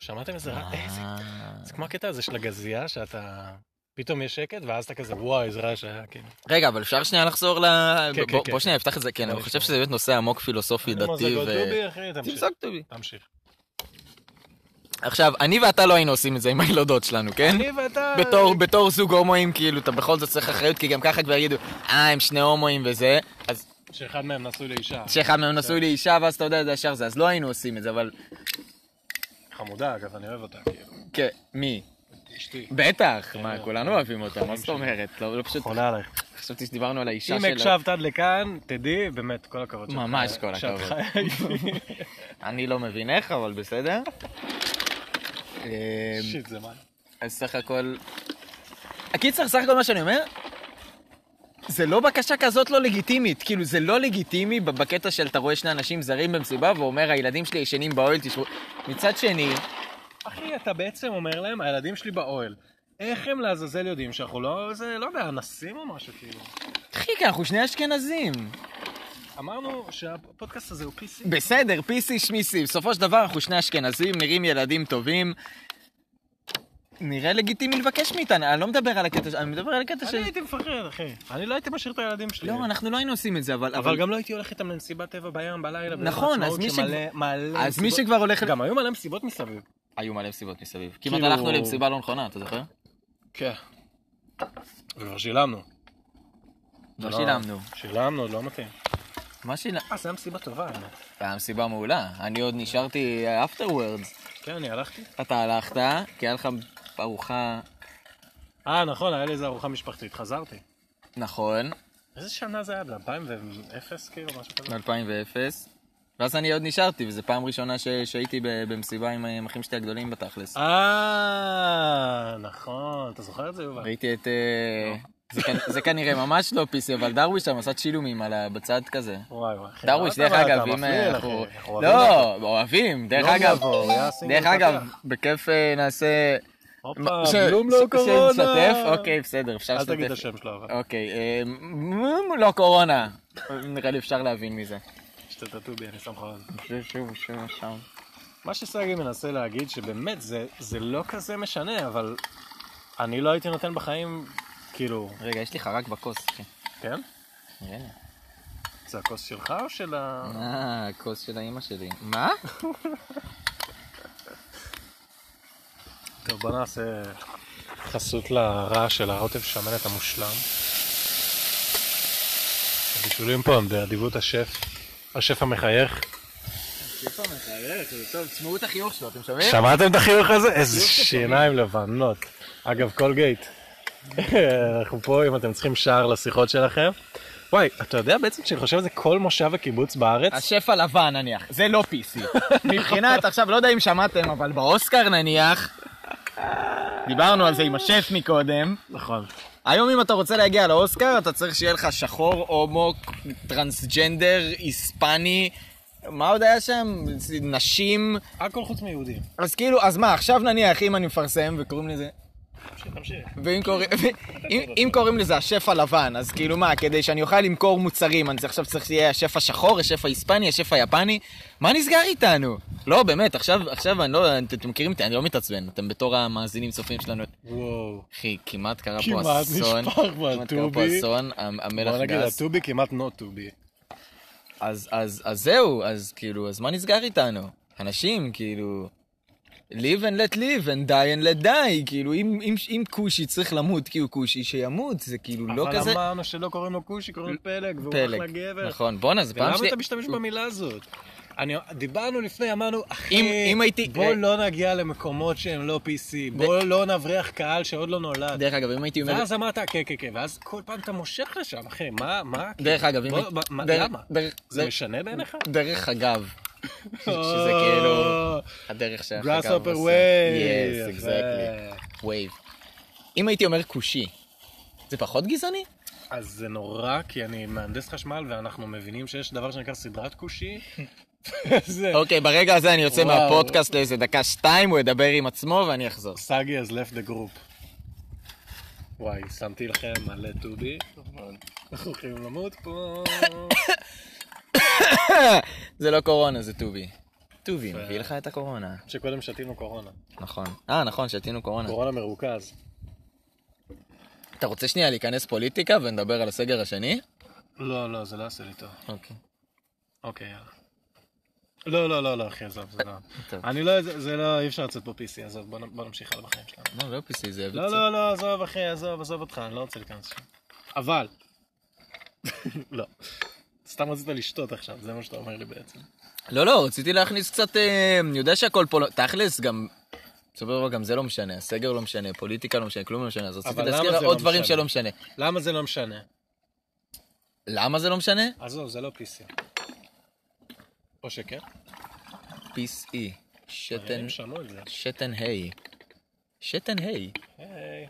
Speaker 1: שמעתם איזה רעש? איזה...
Speaker 5: אה,
Speaker 1: זה כמו הקטע הזה של הגזייה, שאתה... פתאום יש שקט, ואז אתה כזה, וואי, איזה רעש היה, כאילו.
Speaker 5: רגע, אבל אפשר שנייה לחזור ל...
Speaker 1: כן,
Speaker 5: בוא-
Speaker 1: כן,
Speaker 5: בוא
Speaker 1: כן.
Speaker 5: שנייה נפתח את זה, כן,
Speaker 1: בוא
Speaker 5: אני חושב
Speaker 1: נשמע.
Speaker 5: שזה באמת נושא עמוק פילוסופי,
Speaker 1: כמו זה
Speaker 5: דתי ו...
Speaker 1: גולדובי, אחי, תמשיך.
Speaker 5: תמזוג טובי.
Speaker 1: תמשיך.
Speaker 5: עכשיו, אני ואתה לא היינו עושים את זה עם הילדות שלנו, כן?
Speaker 1: אני ואתה...
Speaker 5: בתור, בתור זוג הומואים, כאילו, אתה בכל זאת צריך אחריות, כי גם ככה כבר יגידו, אה, הם שני הומואים וזה, אז
Speaker 1: שאחד מהם נשוי לאישה.
Speaker 5: שאחד מהם נשוי
Speaker 1: כן.
Speaker 5: לאישה, ואז אתה יודע, זה ישר זה, אז לא היינו עושים את זה, אבל...
Speaker 1: חמודה, אגב, אני אוהב אותה, כאילו.
Speaker 5: כן, מי?
Speaker 1: אשתי.
Speaker 5: בטח,
Speaker 1: כן,
Speaker 5: מה,
Speaker 1: כן.
Speaker 5: כולנו אוהבים אותה, מה זאת אומרת? לא לא פשוט,
Speaker 1: חולה עלייך.
Speaker 5: חשבתי שדיברנו על האישה
Speaker 1: אם
Speaker 5: שלה.
Speaker 1: הקשבת עד לכאן, תדעי, באמת, כל הכבוד שלך.
Speaker 5: ממש כל
Speaker 1: שאת
Speaker 5: הכבוד.
Speaker 1: חי-
Speaker 5: אני לא מבין איך, אבל בסדר. אמ,
Speaker 1: אה, שיט, זה מה.
Speaker 5: אז סך הכל, הקיצר, סך הכל מה שאני אומר, זה לא בקשה כזאת לא לגיטימית. כאילו, זה לא לגיטימי ב- בקטע של אתה רואה שני אנשים זרים במסיבה ואומר, הילדים שלי ישנים באוהל, תשבו... מצד שני,
Speaker 1: אחי, אתה בעצם אומר להם, הילדים שלי באוהל. איך הם לעזאזל יודעים שאנחנו לא, זה, לא יודע, אנסים או משהו כאילו.
Speaker 5: אחי, כי אנחנו שני אשכנזים.
Speaker 1: אמרנו שהפודקאסט הזה הוא PC.
Speaker 5: בסדר, PC שמיסי. בסופו של דבר אנחנו שני אשכנזים, נראים ילדים טובים. נראה לגיטימי לבקש מאיתנו, אני לא מדבר על הקטע, ש- אני מדבר על הקטע של...
Speaker 1: אני הייתי מפחד, אחי. אני לא הייתי משאיר את הילדים שלי.
Speaker 5: לא, אנחנו לא היינו עושים את זה, אבל...
Speaker 1: אבל גם לא הייתי הולך איתם למסיבת טבע בים בלילה. ביום
Speaker 5: נכון, אז
Speaker 1: העצמאות
Speaker 5: מי ש-
Speaker 1: שמלא- מלא
Speaker 5: אז מי
Speaker 1: מסיבות-
Speaker 5: שכבר הולך...
Speaker 1: גם היו מלא מסיבות מסביב.
Speaker 5: היו מלא מסיבות מסביב.
Speaker 1: כאילו-
Speaker 5: כמעט הלכנו למסיבה לא נכונה, אתה זוכר?
Speaker 1: כן. וכבר שילמנו.
Speaker 5: לא שילמנו.
Speaker 1: שילמנו, לא מתאים.
Speaker 5: מה שילמנו?
Speaker 1: אה, זו הייתה מסיבה טובה, האמת.
Speaker 5: היה מסיבה מעולה, אני עוד נשארתי after words.
Speaker 1: כן, אני הלכתי.
Speaker 5: אתה הלכת, כי היה לך ארוחה...
Speaker 1: אה, נכון, היה לי איזה ארוחה משפחתית, חזרתי.
Speaker 5: נכון,
Speaker 1: איזה שנה זה היה? ב-2000 כאילו, משהו כזה?
Speaker 5: 2000 ואז אני עוד נשארתי, וזו פעם ראשונה ש- שהייתי ב- במסיבה עם עם אחים שלי הגדולים בתכלס.
Speaker 1: אה, נכון. אתה זוכר את זה, יובל?
Speaker 5: ראיתי את...
Speaker 1: לא.
Speaker 5: אה, זה כנ- זה כנראה ממש לא PC, אבל דרוויש שם עשה צילומים על ה- בצד כזה.
Speaker 1: וואי וואי. אחי,
Speaker 5: דרוש,
Speaker 1: למה
Speaker 5: דרך
Speaker 1: אה, אתה
Speaker 5: אגב, אם אה,
Speaker 1: מפליל,
Speaker 5: אנחנו...
Speaker 1: אחי? אנחנו אוהבים אותך.
Speaker 5: לא, אוהבים, דרך
Speaker 1: יום
Speaker 5: אגב,
Speaker 1: יבוא, יהיה הסינגל
Speaker 5: דרך אגב,
Speaker 1: פתח.
Speaker 5: בכיף אה, נעשה...
Speaker 1: הופה,
Speaker 5: ש-
Speaker 1: בלום לא
Speaker 5: ש-
Speaker 1: קורונה.
Speaker 5: שנשתף? אוקיי, בסדר, אפשר
Speaker 1: אל
Speaker 5: לשתף.
Speaker 1: תגיד את השם שלו, אבל.
Speaker 5: אוקיי, אה, מ- לא קורונה. נראה לי אפשר להבין מזה.
Speaker 1: השתתתו בי, אני שם לך אוזן.
Speaker 5: שוב, שוב, שוב, שם.
Speaker 1: מה שסגי מנסה להגיד, שבאמת זה, זה לא כזה משנה, אבל אני לא הייתי נותן בחיים, כאילו,
Speaker 5: רגע, יש לי חרק בכוס, אחי.
Speaker 1: כן?
Speaker 5: נראה לי.
Speaker 1: זה הכוס שלך או של ה...
Speaker 5: אה, הכוס של האימא שלי. מה?
Speaker 1: טוב, בוא נעשה חסות לרעש של הרוטב שמנת המושלם. הבישולים פה הם באדיבות השף, השף המחייך.
Speaker 5: טוב, תשמעו את החיוך שלו, אתם שומעים?
Speaker 1: שמעתם את החיוך הזה? איזה שיניים לבנות. אגב, קולגייט, אנחנו פה אם אתם צריכים שער לשיחות שלכם. וואי, אתה יודע בעצם שאני חושב על זה כל מושב הקיבוץ בארץ?
Speaker 5: השף הלבן נניח, זה לא PC. מבחינת, עכשיו לא יודע אם שמעתם, אבל באוסקר נניח, דיברנו על זה עם השף מקודם,
Speaker 1: נכון.
Speaker 5: היום אם אתה רוצה להגיע לאוסקר, אתה צריך שיהיה לך שחור, הומו, טרנסג'נדר, היספני, מה עוד היה שם? נשים.
Speaker 1: הכל חוץ מיהודים.
Speaker 5: אז כאילו, אז מה, עכשיו נניח, אם אני מפרסם וקוראים לזה... ואם קוראים, אם, אם קוראים לזה השף הלבן, אז כאילו מה, כדי שאני אוכל למכור מוצרים, אני עכשיו צריך שיהיה השף השחור, השף ההיספני, השף היפני? מה נסגר איתנו? לא, באמת, עכשיו, עכשיו אני לא, אתם מכירים אותי, אני לא מתעצבן, אתם בתור המאזינים צופים שלנו.
Speaker 1: וואו.
Speaker 5: אחי, כמעט קרה פה
Speaker 1: כמעט
Speaker 5: אסון.
Speaker 1: נשפך פה
Speaker 5: כמעט קרה פה
Speaker 1: הטובי.
Speaker 5: אסון, המ- המלח
Speaker 1: בוא נגיד,
Speaker 5: גס.
Speaker 1: הטובי כמעט not to be.
Speaker 5: אז, אז, אז זהו, אז כאילו, אז מה נסגר איתנו? אנשים, כאילו... live and let live and die and let die, כאילו, אם, אם, אם כושי צריך למות כי הוא כושי, שימות, זה כאילו לא
Speaker 1: אבל
Speaker 5: כזה...
Speaker 1: אמרנו שלא קוראים לו כושי, קוראים לו פלג, והוא
Speaker 5: פלג.
Speaker 1: אחלה גבר.
Speaker 5: נכון, בואנה, זה פעם
Speaker 1: ולמה
Speaker 5: שלי...
Speaker 1: אתה משתמש במילה הזאת? אני, דיברנו לפני, אמרנו, אחי,
Speaker 5: אם- אם הייתי-
Speaker 1: בוא
Speaker 5: אה.
Speaker 1: לא נגיע למקומות שהם לא PC, בוא לא נבריח קהל שעוד לא נולד.
Speaker 5: דרך אגב, אם הייתי אומר...
Speaker 1: ואז אמרת, כן, כן, כן, ואז כל פעם אתה מושך לשם, אחי, מה, מה?
Speaker 5: דרך אגב, אם
Speaker 1: בוא,
Speaker 5: הייתי...
Speaker 1: מה- מה-
Speaker 5: דרך-
Speaker 1: למה?
Speaker 5: דרך-
Speaker 1: זה
Speaker 5: דרך-
Speaker 1: משנה בעיניך?
Speaker 5: דרך אגב. שזה כאילו...
Speaker 1: Oh.
Speaker 5: הדרך שהחגב
Speaker 1: גראסהופר
Speaker 5: Yes,
Speaker 1: וייב.
Speaker 5: exactly. וייב. אם הייתי אומר כושי, זה פחות גזעני?
Speaker 1: אז זה נורא, כי אני מהנדס חשמל, ואנחנו מבינים שיש דבר שנקרא סדרת כושי. זה...
Speaker 5: אוקיי, ברגע הזה אני יוצא
Speaker 1: וואו.
Speaker 5: מהפודקאסט לאיזה דקה-שתיים, הוא ידבר עם עצמו ואני אחזור.
Speaker 1: סאגי has left the group. וואי, שמתי לכם מלא טובי. אנחנו הולכים למות פה.
Speaker 5: זה לא קורונה, זה טובי. טובי, מביא לך את הקורונה.
Speaker 1: שקודם שתינו קורונה.
Speaker 5: נכון. אה, נכון, שתינו קורונה.
Speaker 1: קורונה מרוכז.
Speaker 5: אתה רוצה שנייה להיכנס פוליטיקה ונדבר על הסגר השני?
Speaker 1: לא, לא, זה לא עושה לי טוב.
Speaker 5: אוקיי.
Speaker 1: אוקיי, יאללה. לא, לא, לא, לא, אחי, עזוב, זה לא.
Speaker 5: טוב.
Speaker 1: אני לא, זה- זה לא, אי אפשר לצאת פה PC, עזוב, בוא נ- בוא נמשיך הלאה בחיים שלנו.
Speaker 5: לא, לא PC, זה...
Speaker 1: לא, לא, לא, עזוב, אחי, עזוב, עזוב אותך, אני לא רוצה להיכנס לשם. אבל... לא. סתם רצית לשתות עכשיו, זה מה שאתה אומר לי בעצם.
Speaker 5: לא, לא, רציתי להכניס קצת... אה, אני יודע שהכל פה... לא- תכלס, גם... בסופו של דבר גם זה לא משנה, הסגר לא משנה, פוליטיקה לא משנה, כלום לא משנה, אז רציתי
Speaker 1: אבל למה
Speaker 5: להזכיר
Speaker 1: זה
Speaker 5: עוד
Speaker 1: לא
Speaker 5: דברים
Speaker 1: משנה?
Speaker 5: שלא משנה.
Speaker 1: למה זה לא משנה?
Speaker 5: למה זה לא משנה?
Speaker 1: עזוב, זה לא PC. או שכן?
Speaker 5: PC, שתן,
Speaker 1: הם שמעו את זה.
Speaker 5: שתן היי. שתן היי.
Speaker 1: היי.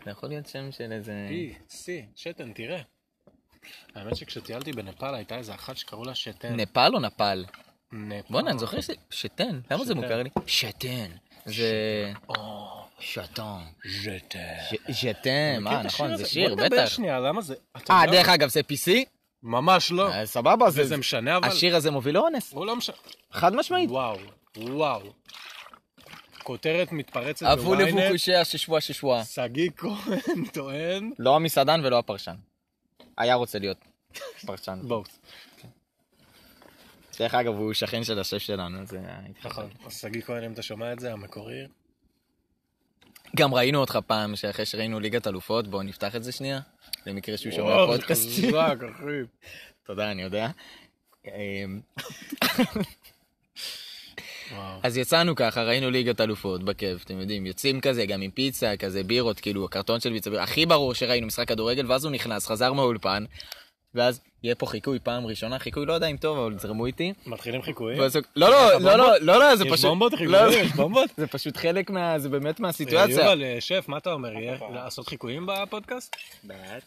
Speaker 5: זה יכול להיות שם של איזה...
Speaker 1: פי, סי, שתן, תראה. האמת שכשטיילתי בנפאל הייתה איזה אחת שקראו לה שתן.
Speaker 5: נפאל או נפאל?
Speaker 1: נפאל.
Speaker 5: בואנה, אני זוכר ש... שתן, למה זה
Speaker 1: אוקיי. שתן.
Speaker 5: מוכר לי? שתן. זה...
Speaker 1: או,
Speaker 5: שתן.
Speaker 1: ז'תן.
Speaker 5: שתן,
Speaker 1: מכיר
Speaker 5: מה,
Speaker 1: כן, את
Speaker 5: נכון,
Speaker 1: השיר
Speaker 5: זה
Speaker 1: הזה?
Speaker 5: שיר,
Speaker 1: בוא נדבר
Speaker 5: בטח.
Speaker 1: שנייה, למה זה... אתה
Speaker 5: אה,
Speaker 1: יודע-
Speaker 5: דרך אגב, זה PC?
Speaker 1: ממש לא.
Speaker 5: אה, סבבה, זה...
Speaker 1: וזה משנה, אבל...
Speaker 5: השיר הזה מוביל לאונס,
Speaker 1: הוא לא משנה.
Speaker 5: חד משמעית.
Speaker 1: וואו, וואו. כותרת מתפרצת
Speaker 5: עבו
Speaker 1: בוויינט,
Speaker 5: לבוקושיה ששווה ששווה.
Speaker 1: שגיא כהן טוען.
Speaker 5: לא המסעדן ולא הפרשן. היה רוצה להיות פרשן.
Speaker 1: בואו,
Speaker 5: דרך אגב, הוא שכן של השף שלנו, אה, זה...
Speaker 1: נכון. אז שגיא כהן, אם אתה שומע את זה, המקורי.
Speaker 5: גם ראינו אותך פעם, שאחרי שראינו ליגת אלופות, בואו נפתח את זה שנייה, למקרה שהוא שומע
Speaker 1: וואו, זה
Speaker 5: פודקאסט.
Speaker 1: חזק, אחי.
Speaker 5: תודה, אני יודע. אמ,
Speaker 1: וואו.
Speaker 5: אז יצאנו ככה, ראינו ליגת אלופות בכיף, אתם יודעים, יוצאים כזה, גם עם פיצה, כזה בירות, כאילו, הקרטון של פיצה, הכי ברור שראינו משחק כדורגל, ואז הוא נכנס, חזר מהאולפן, ואז יהיה פה חיקוי פעם ראשונה, חיקוי לא יודע אם טוב, אבל זרמו איתי.
Speaker 1: מתחילים חיקויים?
Speaker 5: ואז הוא- לא, לא, לא, לא, לא, לא, זה
Speaker 1: יש
Speaker 5: פשוט...
Speaker 1: אה, בומבות,
Speaker 5: לא,
Speaker 1: חיקויים?
Speaker 5: זה-
Speaker 1: יש בומבות?
Speaker 5: זה פשוט חלק מה... זה באמת מהסיטואציה.
Speaker 1: יובל, אה, שף, מה אתה אומר? יהיה לעשות חיקויים בפודקאסט?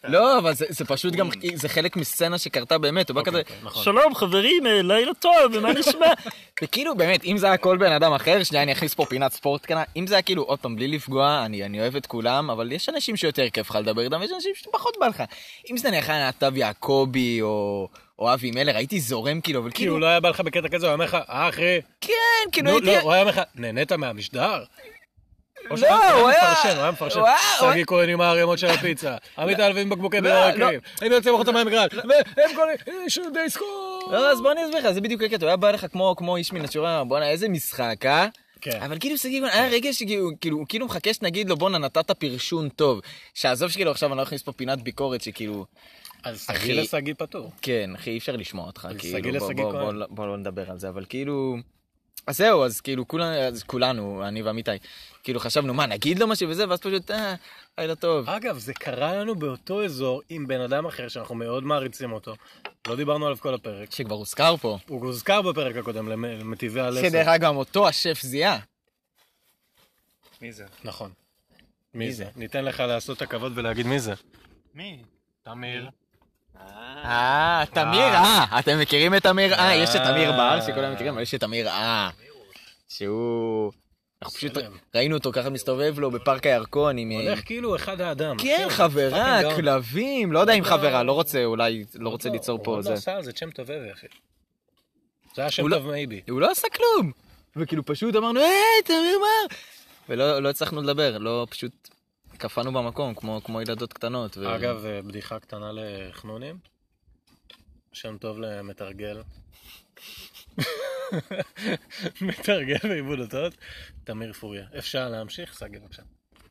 Speaker 5: לא, אבל זה, זה פשוט גם, זה חלק מסצנה שקרתה באמת, הוא בא כזה,
Speaker 1: אוקיי, נכון.
Speaker 5: שלום חברים, אה, לילה טוב, מה נשמע? וכאילו באמת, אם זה היה כל בן אדם אחר, שנייה אני אכניס פה פינת ספורט קטנה, אם זה היה כאילו, עוד פעם, בלי לפגוע, אני, אני אוהב את כולם, אבל יש אנשים שיותר כיף לך לדבר איתם, ויש אנשים שפחות בא לך. אם זה נלך היה נתב יעקבי, או, או אבי מלר, הייתי זורם כאילו, אבל
Speaker 1: כי
Speaker 5: כאילו,
Speaker 1: הוא לא היה בא לך בקטע כזה, הוא היה אומר לך, אה, אחי,
Speaker 5: כן, כאילו
Speaker 1: נו,
Speaker 5: הייתי... לא,
Speaker 1: לא, הוא היה אומר לך, נהנית מהמשדר? או שהוא
Speaker 5: הוא היה-
Speaker 1: מפרשן, הוא היה מפרשן.
Speaker 5: הוא היה- לא, הוא
Speaker 1: שגיא כהן עם הערימות של הפיצה, עמית אלווי עם בקבוקי ברקים, אני יוצא מחוץ מהמגרל, והם קוראים, שום די סקור.
Speaker 5: לא, אז בוא אני אסביר לך, זה בדיוק הקטע, הוא היה בא לך כמו, כמו איש מן השורה, בואנה, איזה משחק, אה?
Speaker 1: כן.
Speaker 5: אבל כאילו שגיא, גולן, היה רגע שכאילו, כאילו, הוא כאילו מחכה שנגיד לו, בואנה, נתת פרשון טוב. שעזוב שכאילו, עכשיו אני לא אכניס פה פינת ביקורת שכאילו,
Speaker 1: אז
Speaker 5: אחי.
Speaker 1: שגיא לשגיא פטור.
Speaker 5: כן, אחי, אי אפשר לשמוע אותך,
Speaker 1: אז
Speaker 5: כאילו,
Speaker 1: שגיא
Speaker 5: בוא,
Speaker 1: לשגיא
Speaker 5: בוא, בוא,
Speaker 1: כהן.
Speaker 5: בוא, בוא לא נדבר על זה, אבל כאילו... אז זהו, אז כאילו כולנו, אז כולנו, אני ועמיתי, כאילו חשבנו, מה, נגיד לו משהו וזה, ואז פשוט, אה, לילה טוב.
Speaker 1: אגב, זה קרה לנו באותו אזור עם בן אדם אחר שאנחנו מאוד מעריצים אותו. לא דיברנו עליו כל הפרק.
Speaker 5: שכבר הוזכר פה.
Speaker 1: הוא הוזכר בפרק הקודם למ- למטיבי הלסת.
Speaker 5: שדרך אגב, אותו השף זיהה.
Speaker 4: מי זה?
Speaker 1: נכון. מי זה? ניתן לך לעשות את הכבוד ולהגיד מי זה.
Speaker 4: מי?
Speaker 1: תמיר.
Speaker 5: אה, תמיר אה, אתם מכירים את תמיר אה, יש את תמיר
Speaker 1: אה.
Speaker 5: בעל שכולם מכירים, אבל יש את תמיר אה, שהוא... אנחנו פשוט
Speaker 1: סלם.
Speaker 5: ראינו אותו ככה מסתובב לו בפארק הירקון עם...
Speaker 1: הולך כאילו אחד האדם.
Speaker 5: כן, חברה,
Speaker 1: פאקינג גאון.
Speaker 5: כלבים, לא יודע אם חברה, לא רוצה, אולי, לא רוצה ליצור
Speaker 1: הוא
Speaker 5: פה
Speaker 1: עוד
Speaker 5: זה.
Speaker 1: אה. לא עשה על זה שם טוב אבי, אחי. זה היה שם
Speaker 5: הוא לא-
Speaker 1: טוב מייבי.
Speaker 5: הוא לא עשה כלום! וכאילו פשוט אמרנו, היי, תמיר מר! ולא לא הצלחנו לדבר, לא פשוט קפאנו במקום, כמו כמו ילדות קטנות. ו-
Speaker 1: אגב, אה, בדיחה קטנה לחנונים. שם טוב למתרגל. מתרגל בעיבוד אותות, תמיר פוריה. אפשר להמשיך? סגי בבקשה.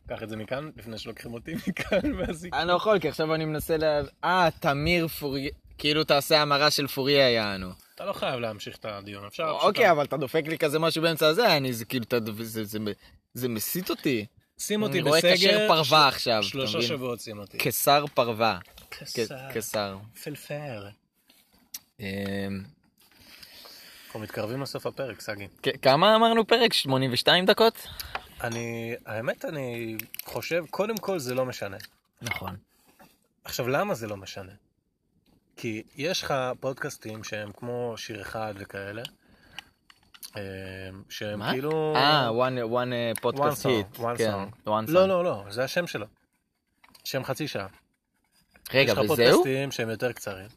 Speaker 1: קח את זה מכאן, לפני שלוקחים אותי מכאן מהזיק.
Speaker 5: אני לא יכול, כי עכשיו אני מנסה ל... אה, תמיר פוריה, כאילו תעשה המרה של פוריה יענו.
Speaker 1: אתה לא חייב להמשיך את הדיון, אפשר... פשוט-
Speaker 5: אוקיי, אבל אתה דופק לי כזה משהו באמצע הזה, אני, זה כאילו, אתה- זה- זה- זה מסיט אותי.
Speaker 1: שים אותי
Speaker 5: אני רואה כשר
Speaker 1: בסגר,
Speaker 5: פרווה עכשיו, אתה
Speaker 1: שלושה
Speaker 5: מבין? כן,
Speaker 1: שבועות שים אותי.
Speaker 5: כשר פרווה.
Speaker 1: כשר.
Speaker 5: כ- כשר.
Speaker 1: פלפל.
Speaker 5: אמ,
Speaker 1: אנחנו מתקרבים לסוף הפרק, סגי.
Speaker 5: כ- כמה אמרנו פרק? 82 דקות?
Speaker 1: אני, האמת, אני חושב, קודם כל זה לא משנה.
Speaker 5: נכון.
Speaker 1: עכשיו, למה זה לא משנה? כי יש לך פודקאסטים שהם כמו שיר אחד וכאלה, אה, שהם
Speaker 5: מה?
Speaker 1: כאילו...
Speaker 5: אה, one- one פודקאסט
Speaker 1: song,
Speaker 5: היט.
Speaker 1: one song.
Speaker 5: one
Speaker 1: לא,
Speaker 5: song.
Speaker 1: לא, לא, זה השם שלו. שם חצי שעה.
Speaker 5: רגע,
Speaker 1: יש לך
Speaker 5: וזהו?
Speaker 1: פודקאסטים שהם יותר קצרים.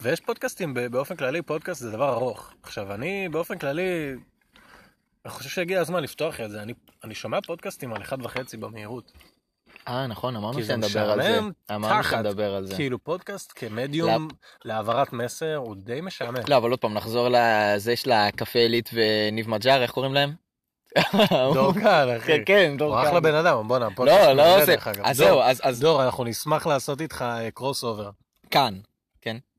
Speaker 1: ויש פודקאסטים, ב- באופן כללי פודקאסט זה דבר ארוך. עכשיו, אני באופן כללי, אני חושב שהגיע הזמן לפתוח את זה. אני, אני שומע פודקאסטים על אחד וחצי במהירות.
Speaker 5: אה, נכון, אמרנו
Speaker 1: כי זה
Speaker 5: שנדבר על זה.
Speaker 1: משעמם
Speaker 5: אמרנו
Speaker 1: תחת.
Speaker 5: שנדבר על זה.
Speaker 1: כאילו פודקאסט כמדיום להעברת מסר הוא די משעמם.
Speaker 5: לא, אבל עוד פעם, נחזור לזה של הקפה עילית וניב מג'אר, איך קוראים להם?
Speaker 1: דור קהל, אחי.
Speaker 5: כן, כן, דור
Speaker 1: הוא אחלה
Speaker 5: קהל.
Speaker 1: בן אדם, בואנה, הפודקאסט
Speaker 5: לא,
Speaker 1: מעולה,
Speaker 5: לא עושה.
Speaker 1: דרך אגב.
Speaker 5: אז
Speaker 1: דור,
Speaker 5: זהו, אז אז
Speaker 1: דור, אנחנו נשמח לעשות איתך קרוס אובר.
Speaker 5: כאן.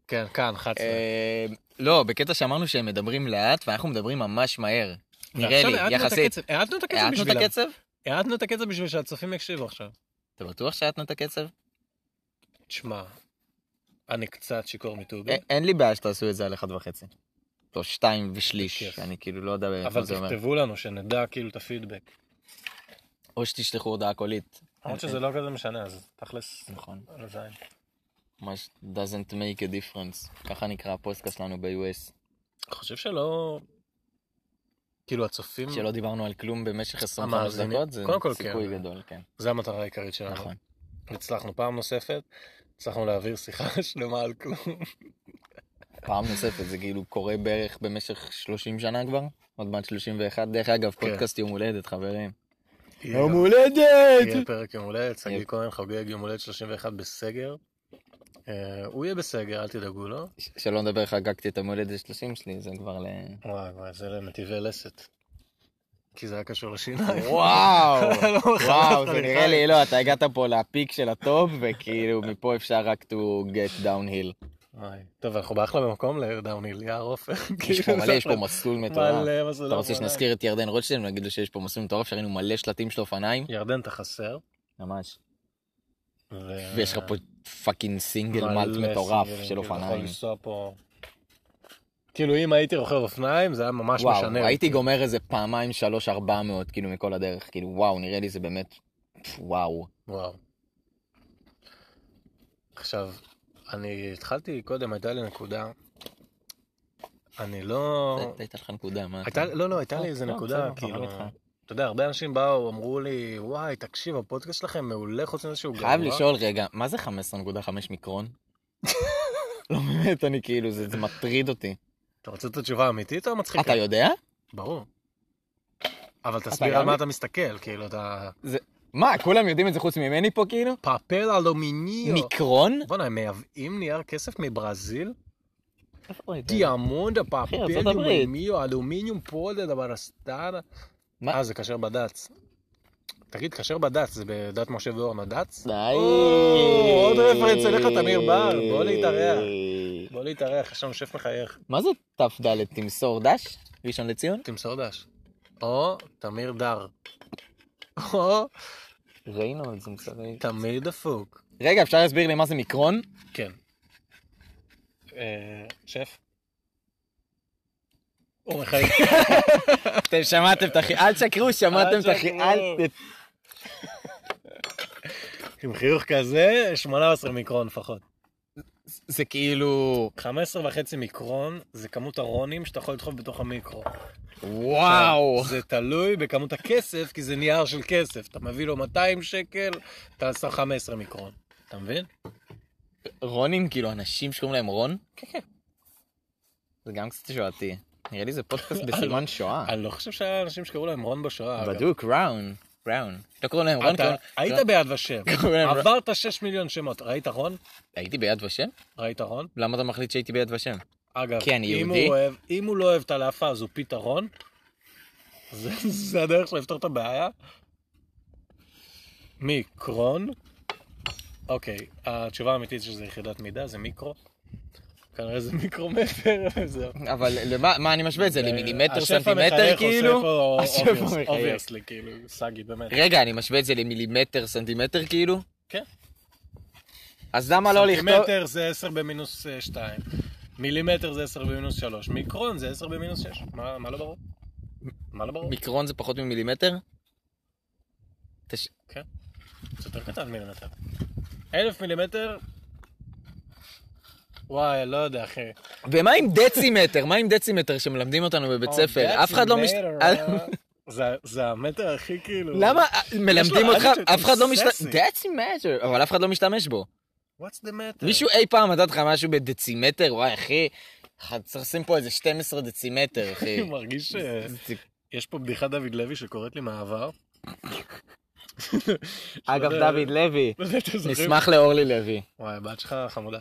Speaker 1: כן, כאן, 11.
Speaker 5: אה, לא, בקטע שאמרנו שהם מדברים לאט, ואנחנו מדברים ממש מהר. נראה
Speaker 1: ועכשיו
Speaker 5: לי,
Speaker 1: האטנו את
Speaker 5: יחסית.
Speaker 1: הקצב, האטנו את הקצב
Speaker 5: האטנו את
Speaker 1: בשבילם.
Speaker 5: הקצב?
Speaker 1: האטנו את הקצב בשביל שהצופים יקשיבו עכשיו.
Speaker 5: אתה בטוח שהאטנו את הקצב?
Speaker 1: תשמע, אני קצת שיכור מטובי,
Speaker 5: א- אה, אין לי בעיה שתעשו את זה על אחד וחצי. או שתיים ושליש,
Speaker 1: בכיף.
Speaker 5: אני כאילו לא יודע מה
Speaker 1: אבל
Speaker 5: זה אומר.
Speaker 1: תכתבו לנו שנדע כאילו את הפידבק.
Speaker 5: או שתשלחו הודעה קולית. אה,
Speaker 1: למרות שזה לא כזה משנה, אז תכלס,
Speaker 5: נכון.
Speaker 1: על הזין.
Speaker 5: ממש doesn't make a difference. ככה נקרא הפוסטקאסט שלנו ב-US.
Speaker 1: אני חושב שלא... כאילו הצופים,
Speaker 5: שלא דיברנו על כלום במשך 25
Speaker 1: המאזינים.
Speaker 5: דקות, זה
Speaker 1: קודם כל,
Speaker 5: סיכוי
Speaker 1: כן.
Speaker 5: גדול, כן.
Speaker 1: זה המטרה העיקרית שלנו.
Speaker 5: נכון.
Speaker 1: הצלחנו פעם נוספת, הצלחנו להעביר שיחה שלמה על כלום.
Speaker 5: פעם נוספת, זה כאילו קורה בערך במשך 30 שנה כבר, עוד מעט 31. דרך אגב, פודקאסט יום הולדת, חברים. לא
Speaker 1: יום יהיה
Speaker 5: הולדת!
Speaker 1: פרק יום הולדת, שגיא
Speaker 5: יהיה.
Speaker 1: כהן חוגג יום הולדת 31 בסגר. אה, הוא יהיה בסגר, אל תדאגו לו.
Speaker 5: שלא נדבר, חגגתי את היום הולדת 30 שלי, זה כבר ל...
Speaker 1: וואי וואי, זה לנתיבי לסת. כי זה היה קשור לשיניים.
Speaker 5: וואו,
Speaker 1: מחזק
Speaker 5: וואו,
Speaker 1: אותך
Speaker 5: זה נראה
Speaker 1: בכלל.
Speaker 5: לא, לי, לא, אתה הגעת פה לפיק של הטוב, וכאילו מפה אפשר רק to get downhill.
Speaker 1: וואי. טוב, אנחנו באחלה במקום לעיר דאוניל, יער עופר. כאילו,
Speaker 5: יש פה מלא, לא, יש פה מסלול מטורף.
Speaker 1: מלא מסלול
Speaker 5: אתה רוצה
Speaker 1: אופניים.
Speaker 5: שנזכיר את ירדן רוטשטיין ונגיד לו שיש פה מסלול מטורף, שראינו מלא שלטים של אופניים?
Speaker 1: ירדן, אתה חסר.
Speaker 5: ממש.
Speaker 1: ו-
Speaker 5: ויש לך פה פאקינג סינגל
Speaker 1: מלא
Speaker 5: מאלט מטורף
Speaker 1: סינגלים,
Speaker 5: של
Speaker 1: כאילו, אתה יכול
Speaker 5: אופניים.
Speaker 1: לנסוע פה... כאילו, אם הייתי רוכב אופניים, זה היה ממש
Speaker 5: וואו,
Speaker 1: משנה.
Speaker 5: הייתי גומר איזה פעמיים, שלוש, ארבע מאות, כאילו, מכל הדרך. כאילו, וואו, נראה לי זה באמת, וואו.
Speaker 1: וואו. עכשיו, אני התחלתי קודם, הייתה לי נקודה. אני לא...
Speaker 5: הייתה לך נקודה, מה?
Speaker 1: הייתה, לא, לא, הייתה לי
Speaker 5: אה,
Speaker 1: איזה
Speaker 5: לא,
Speaker 1: נקודה,
Speaker 5: בסדר,
Speaker 1: כאילו,
Speaker 5: חבל איתך.
Speaker 1: אתה יודע, הרבה אנשים באו, אמרו לי, וואי, תקשיב, הפודקאסט שלכם מעולה, חוץ מזה שהוא גרוע.
Speaker 5: חייב לשאול רגע, מה זה 15.5 מיקרון? לא באמת, אני כאילו, זה זה מטריד אותי.
Speaker 1: אתה רוצה את התשובה האמיתית או מצחיקה?
Speaker 5: אתה יודע?
Speaker 1: ברור. אבל תסביר על
Speaker 5: גם?
Speaker 1: מה אתה מסתכל, כאילו, אתה...
Speaker 5: מה, כולם יודעים את זה חוץ ממני פה, כאילו?
Speaker 1: פאפל אלומיניו.
Speaker 5: מיקרון?
Speaker 1: בואנה, הם מייבאים נייר כסף מברזיל? Eh. דיאמונד,
Speaker 5: ארצות
Speaker 1: פאפל,
Speaker 5: הברית.
Speaker 1: אלומיניו, אלומיניום פולד, הברסטנה.
Speaker 5: מה?
Speaker 1: אה, זה כשר בד"ץ. תגיד, כשר בד"ץ, זה בדת משה ואורנה ד"ץ?
Speaker 5: די.
Speaker 1: או, עוד רפרנס אליך, תמיר בר, בוא להתארח. בוא להתארח, יש לנו שף מחייך.
Speaker 5: מה זה ת"ד תמסור דש? ראשון לציון?
Speaker 1: תמסור דש. או תמיר דר. או
Speaker 5: ראינו את זה מסורי.
Speaker 1: תמיר דפוק.
Speaker 5: רגע, אפשר להסביר לי מה זה מיקרון?
Speaker 1: כן. אה, שף? הוא מחייך.
Speaker 5: אתם שמעתם את החי... אל תשקרו, שמעתם את החי... אל... ת-
Speaker 1: עם חיוך כזה, 18 מיקרון לפחות.
Speaker 5: זה כאילו...
Speaker 1: 15 וחצי מיקרון זה כמות הרונים שאתה יכול לדחוף בתוך המיקרו.
Speaker 5: וואו.
Speaker 1: זה תלוי בכמות הכסף, כי זה נייר של כסף. אתה מביא לו 200 שקל, אתה שם 15 מיקרון. אתה מבין?
Speaker 5: רונים, כאילו אנשים שקוראים להם רון? כן, כן. זה גם קצת שואתי. נראה לי זה פודקאסט בסימן שואה.
Speaker 1: אני לא חושב שהיה אנשים שקראו להם רון בשואה. אגב.
Speaker 5: בדוק, ראון. ראון. לא קוראים להם רון, כן,
Speaker 1: אתה
Speaker 5: קוראים... לא.
Speaker 1: היית
Speaker 5: קוראים-
Speaker 1: ביד ושם,
Speaker 5: קוראים להם-
Speaker 1: עברת 6 מיליון שמות, ראית רון?
Speaker 5: הייתי ביד ושם?
Speaker 1: ראית רון?
Speaker 5: למה אתה מחליט שהייתי ביד ושם?
Speaker 1: אגב,
Speaker 5: כי אני
Speaker 1: אם
Speaker 5: יהודי?
Speaker 1: הוא, אוהב, אם הוא לא אוהב את הלאפה אז הוא פתרון, זה, זה הדרך שלו לפתור את הבעיה. מיקרון, אוקיי, התשובה האמיתית שזה יחידת מידה זה מיקרו, כנראה זה מיקרומטר, וזהו.
Speaker 5: אבל למה מה אני משווה את זה? למילימטר,
Speaker 1: השף
Speaker 5: סנטימטר,
Speaker 1: המחייך
Speaker 5: כאילו?
Speaker 1: עושה
Speaker 5: השף
Speaker 1: פה
Speaker 5: המחייך.
Speaker 1: אובייסלי, כאילו, סאגי, באמת.
Speaker 5: רגע, אני משווה את זה למילימטר, סנטימטר, כאילו?
Speaker 1: כן.
Speaker 5: אז למה לא לכתוב...
Speaker 1: סנטימטר זה 10 במינוס 2, מילימטר זה 10 במינוס 3, מיקרון זה 10 במינוס 6. מה מה לא ברור? מה לא ברור?
Speaker 5: מיקרון זה פחות ממילימטר? תש-
Speaker 1: זה יותר כן. קטן מילימטר. אלף מילימטר? וואי, לא יודע, אחי.
Speaker 5: ומה עם דצימטר? מה עם דצימטר שמלמדים אותנו בבית ספר? אף אחד לא מש...
Speaker 1: Oh, דצימטר, אה. זה- זה המטר הכי כאילו...
Speaker 5: למה אה, מלמדים אותך?
Speaker 1: attitude,
Speaker 5: אף אחד לא
Speaker 1: הוא
Speaker 5: משתמש...
Speaker 1: sassy.
Speaker 5: דצימטר, אבל אף אחד לא משתמש בו.
Speaker 1: אה. What's the matter?
Speaker 5: מישהו אי פעם מדד לך משהו בדצימטר? וואי, אחי, אחד צריך לשים פה איזה 12 דצימטר, אחי.
Speaker 1: אני מרגיש ש... יש פה בדיחת דוד לוי שקורית לי מהעבר.
Speaker 5: אגב, דוד לוי,
Speaker 1: לא יודע אם אתם זוכרים.
Speaker 5: נשמח לאורלי לוי.
Speaker 1: וואי, הבת שלך חמודה.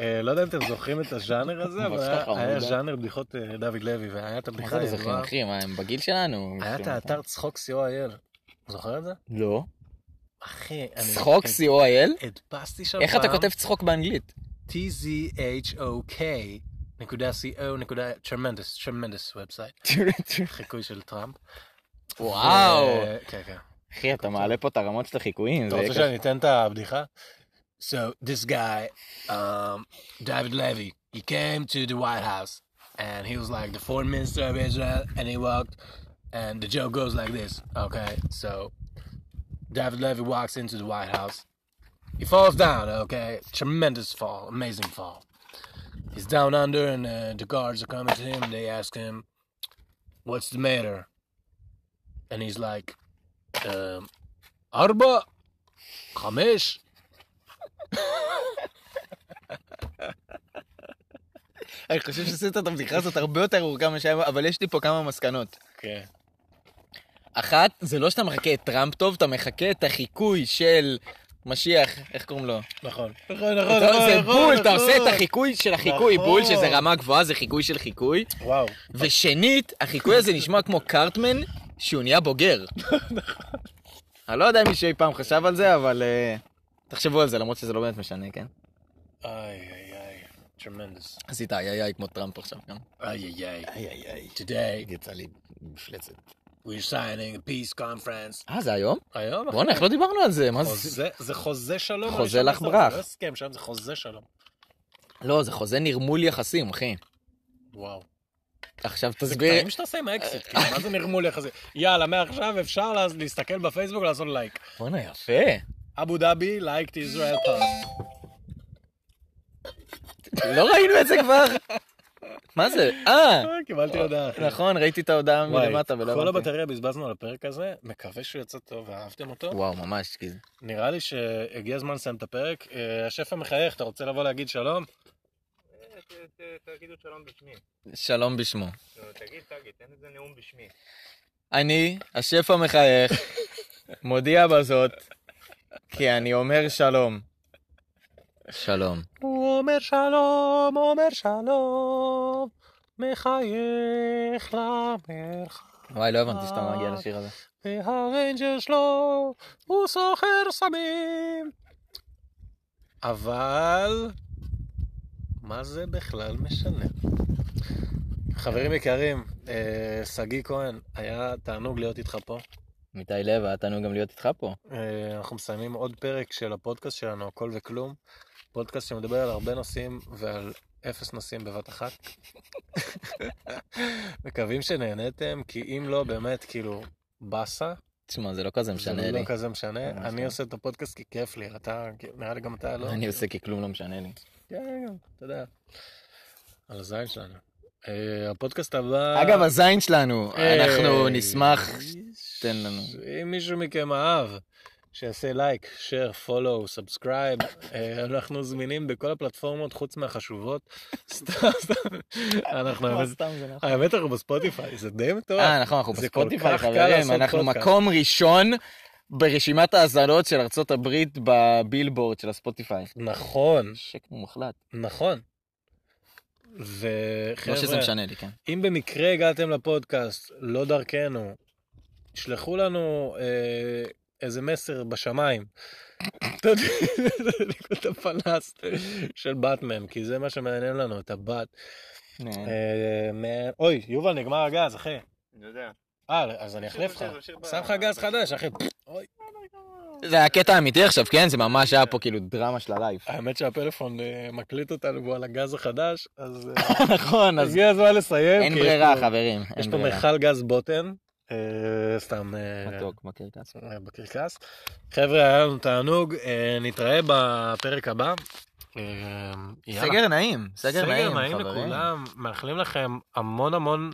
Speaker 1: אה, לא יודע אם אתם זוכרים את הז'אנר הזה, אבל
Speaker 5: הבת שלך
Speaker 1: היה- היה
Speaker 5: חמודה.
Speaker 1: ז'אנר בדיחות אה, דוד לוי, והיה את
Speaker 5: מה
Speaker 1: הבדיחה
Speaker 5: זה לא זוכרים,
Speaker 1: הידועה.
Speaker 5: אחי? מה, הם בגיל שלנו?
Speaker 1: אוקיי, היה את האתר צחוק co.il. זוכר את זה?
Speaker 5: לא.
Speaker 1: אחי, אני... כן. לא,
Speaker 5: צחוק co.il?
Speaker 1: הדפסתי שם
Speaker 5: איך אתה
Speaker 1: פעם.
Speaker 5: כותב צחוק באנגלית?
Speaker 1: tzhok נקודה co נקודה oh, tremendous tremendous website חיקוי של טראמפ.
Speaker 5: וואו.
Speaker 1: אה, כן כן.
Speaker 5: אחי, אתה מעלה פה את הרמות של החיקויים.
Speaker 1: אתה
Speaker 5: זה
Speaker 1: רוצה
Speaker 5: קשה.
Speaker 1: שאני אתן את הבדיחה? So this guy, um, David Levy, he came to the White House and he was like the foreign minister of Israel and he walked and the joke goes like this. Okay, so David Levy walks into the White House. He falls down, okay? Tremendous fall, amazing fall. He's down under, and uh, the guards are coming to him, and they ask him, What's the matter? And he's like, um, Arba, Khamesh.
Speaker 5: אני חושב שעשית את הבדיחה הזאת הרבה יותר ארוכה ממה שהיה, אבל יש לי פה כמה מסקנות.
Speaker 1: כן.
Speaker 5: אחת, זה לא שאתה מחכה את טראמפ טוב, אתה מחכה את החיקוי של משיח, איך קוראים לו?
Speaker 1: נכון.
Speaker 5: אתה- זה בול, אתה עושה את החיקוי של החיקוי
Speaker 1: נכון.
Speaker 5: בול, שזה רמה גבוהה, זה חיקוי של חיקוי.
Speaker 1: וואו.
Speaker 5: ושנית, החיקוי הזה נשמע כמו קארטמן, שהוא נהיה בוגר.
Speaker 1: נכון.
Speaker 5: אני לא יודע אם מישהו אי פעם חשב על זה, אבל אה, תחשבו על זה, למרות שזה לא באמת משנה, כן?
Speaker 1: איי, איי, איי. Tremendous.
Speaker 5: עשית איי איי איי כמו טראמפ עכשיו כן? גם.
Speaker 1: איי, איי, איי. איי, איי. Today,
Speaker 5: יצא לי מפלצת.
Speaker 1: we're signing a peace conference.
Speaker 5: אה, זה היום?
Speaker 1: היום, אחי.
Speaker 5: בואנה, איך לא דיברנו על זה? מה זה?
Speaker 1: חוזה- זה חוזה שלום.
Speaker 5: חוזה
Speaker 1: הראשון
Speaker 5: לך
Speaker 1: בסוף,
Speaker 5: ברח.
Speaker 1: זה לא הסכם, שם זה חוזה שלום.
Speaker 5: לא, זה חוזה נרמול יחסים, אחי.
Speaker 1: וואו.
Speaker 5: עכשיו
Speaker 1: זה
Speaker 5: תסביר.
Speaker 1: קטעים שאתה עושה עם האקסיט, כאילו, מה זה נרמול יחסי? יאללה, מעכשיו אפשר לה- להסתכל בפייסבוק ולעשות לייק.
Speaker 5: בואנה, יפה.
Speaker 1: אבו דאבי, לייק את ישראל פעם.
Speaker 5: לא ראינו את זה כבר? מה זה? אה,
Speaker 1: קיבלתי הודעה, אחי.
Speaker 5: נכון, ראיתי את ההודעה
Speaker 1: וואי,
Speaker 5: מלמטה ולא
Speaker 1: כל
Speaker 5: הבנתי.
Speaker 1: הבטריה בזבזנו על הפרק הזה, מקווה שהוא יצא טוב ואהבתם אותו.
Speaker 5: וואו, ממש, כי...
Speaker 1: נראה לי שהגיע הזמן לסיים את הפרק. אה, השף המחייך, אתה רוצה לבוא להגיד שלום?
Speaker 4: תגידו שלום בשמי.
Speaker 5: שלום בשמו.
Speaker 4: תגיד, תגיד, תן איזה נאום בשמי.
Speaker 5: אני, השף המחייך, מודיע בזאת, כי אני אומר שלום. שלום.
Speaker 1: הוא אומר שלום, אומר שלום, מחייך למרחב.
Speaker 5: וואי, לא הבנתי שאתה מגיע לשיר הזה.
Speaker 1: והריינג'ר שלו הוא סוחר סמים. אבל מה זה בכלל משנה? חברים יקרים, אה, שגיא כהן, היה תענוג להיות איתך פה.
Speaker 5: איתי לב, היה תענוג גם להיות איתך פה.
Speaker 1: אה, אנחנו מסיימים עוד פרק של הפודקאסט שלנו, הכל וכלום. פודקאסט שמדבר על הרבה נושאים ועל אפס נושאים בבת אחת. מקווים שנהנתם, כי אם לא, באמת, כאילו, באסה.
Speaker 5: תשמע, זה לא כזה משנה
Speaker 1: זה
Speaker 5: לי.
Speaker 1: לא כזה משנה,
Speaker 5: ממש
Speaker 1: אני
Speaker 5: לא.
Speaker 1: עושה את הפודקאסט כי כיף לי, אתה, נראה לי גם אתה לא.
Speaker 5: אני עושה כי כלום לא משנה לי.
Speaker 1: כן, גם, אתה יודע. על הזין שלנו. אה, הפודקאסט הבא...
Speaker 5: אגב, הזין שלנו,
Speaker 1: אה,
Speaker 5: אנחנו נשמח, תן לנו.
Speaker 1: אם מישהו מכם אהב, שיעשה לייק, שייר, פולו, סאבסקרייב, אה, אנחנו זמינים בכל הפלטפורמות חוץ מהחשובות. סתם, סתם. אנחנו האמת- האמת אנחנו בספוטיפיי, זה די מטורף.
Speaker 5: אה, נכון, אנחנו
Speaker 1: זה כל
Speaker 5: בספוטיפיי,
Speaker 1: כך קל
Speaker 5: חברים,
Speaker 1: לעשות
Speaker 5: אנחנו
Speaker 1: פודקאסט.
Speaker 5: מקום ראשון ברשימת ההאזנות של ארצות הברית בבילבורד של הספוטיפיי.
Speaker 1: נכון,
Speaker 5: שקר מוחלט.
Speaker 1: נכון.
Speaker 5: לא שזה
Speaker 1: וחבר'ה,
Speaker 5: משנה לי, כן.
Speaker 1: אם במקרה הגעתם לפודקאסט, לא דרכנו, שלחו לנו אה, איזה מסר בשמיים. אתה יודע, את הפלס של באטמן, כי זה מה שמעניין לנו, את הבת. אה, מה- אוי, יובל, נגמר הגז, אחי.
Speaker 4: אני יודע.
Speaker 1: אה, אז אני אחליף לך. שם לך גז חדש, אחי. אוי.
Speaker 5: זה הקטע האמיתי עכשיו, כן? זה ממש היה פה כאילו דרמה של הלייב.
Speaker 1: האמת שהפלאפון אה, מקליט אותנו והוא על הגז החדש, אז אה,
Speaker 5: נכון, אז
Speaker 1: הגיע הזמן לסיים.
Speaker 5: אין
Speaker 1: כי יש
Speaker 5: ברירה,
Speaker 1: פה-
Speaker 5: חברים.
Speaker 1: יש
Speaker 5: אין
Speaker 1: פה
Speaker 5: ברירה.
Speaker 1: מכל גז בוטן, אה, סתם. אה,
Speaker 5: מתוק, בקרקס.
Speaker 1: אה, בקרקס. חבר'ה, היה לנו תענוג, אה, נתראה בפרק הבא. אה, יאללה.
Speaker 5: סגר נעים, סגר נעים,
Speaker 1: נעים
Speaker 5: חברים.
Speaker 1: לכולם, מאחלים לכם המון המון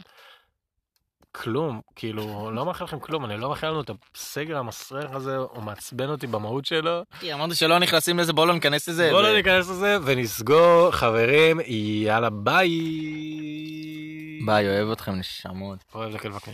Speaker 1: כלום, כאילו, לא מאחל לכם כלום, אני לא מאחל לנו את הסגר המסריח הזה, הוא מעצבן אותי במהות שלו.
Speaker 5: תראי, אמרנו שלא נכנסים לזה, בואו לא ניכנס לזה.
Speaker 1: בואו
Speaker 5: זה-
Speaker 1: לא ניכנס לזה ונסגור, חברים, יאללה ביי.
Speaker 5: ביי, אוהב אתכם, נשמות.
Speaker 1: אוהב אוקיי. לכלבקן.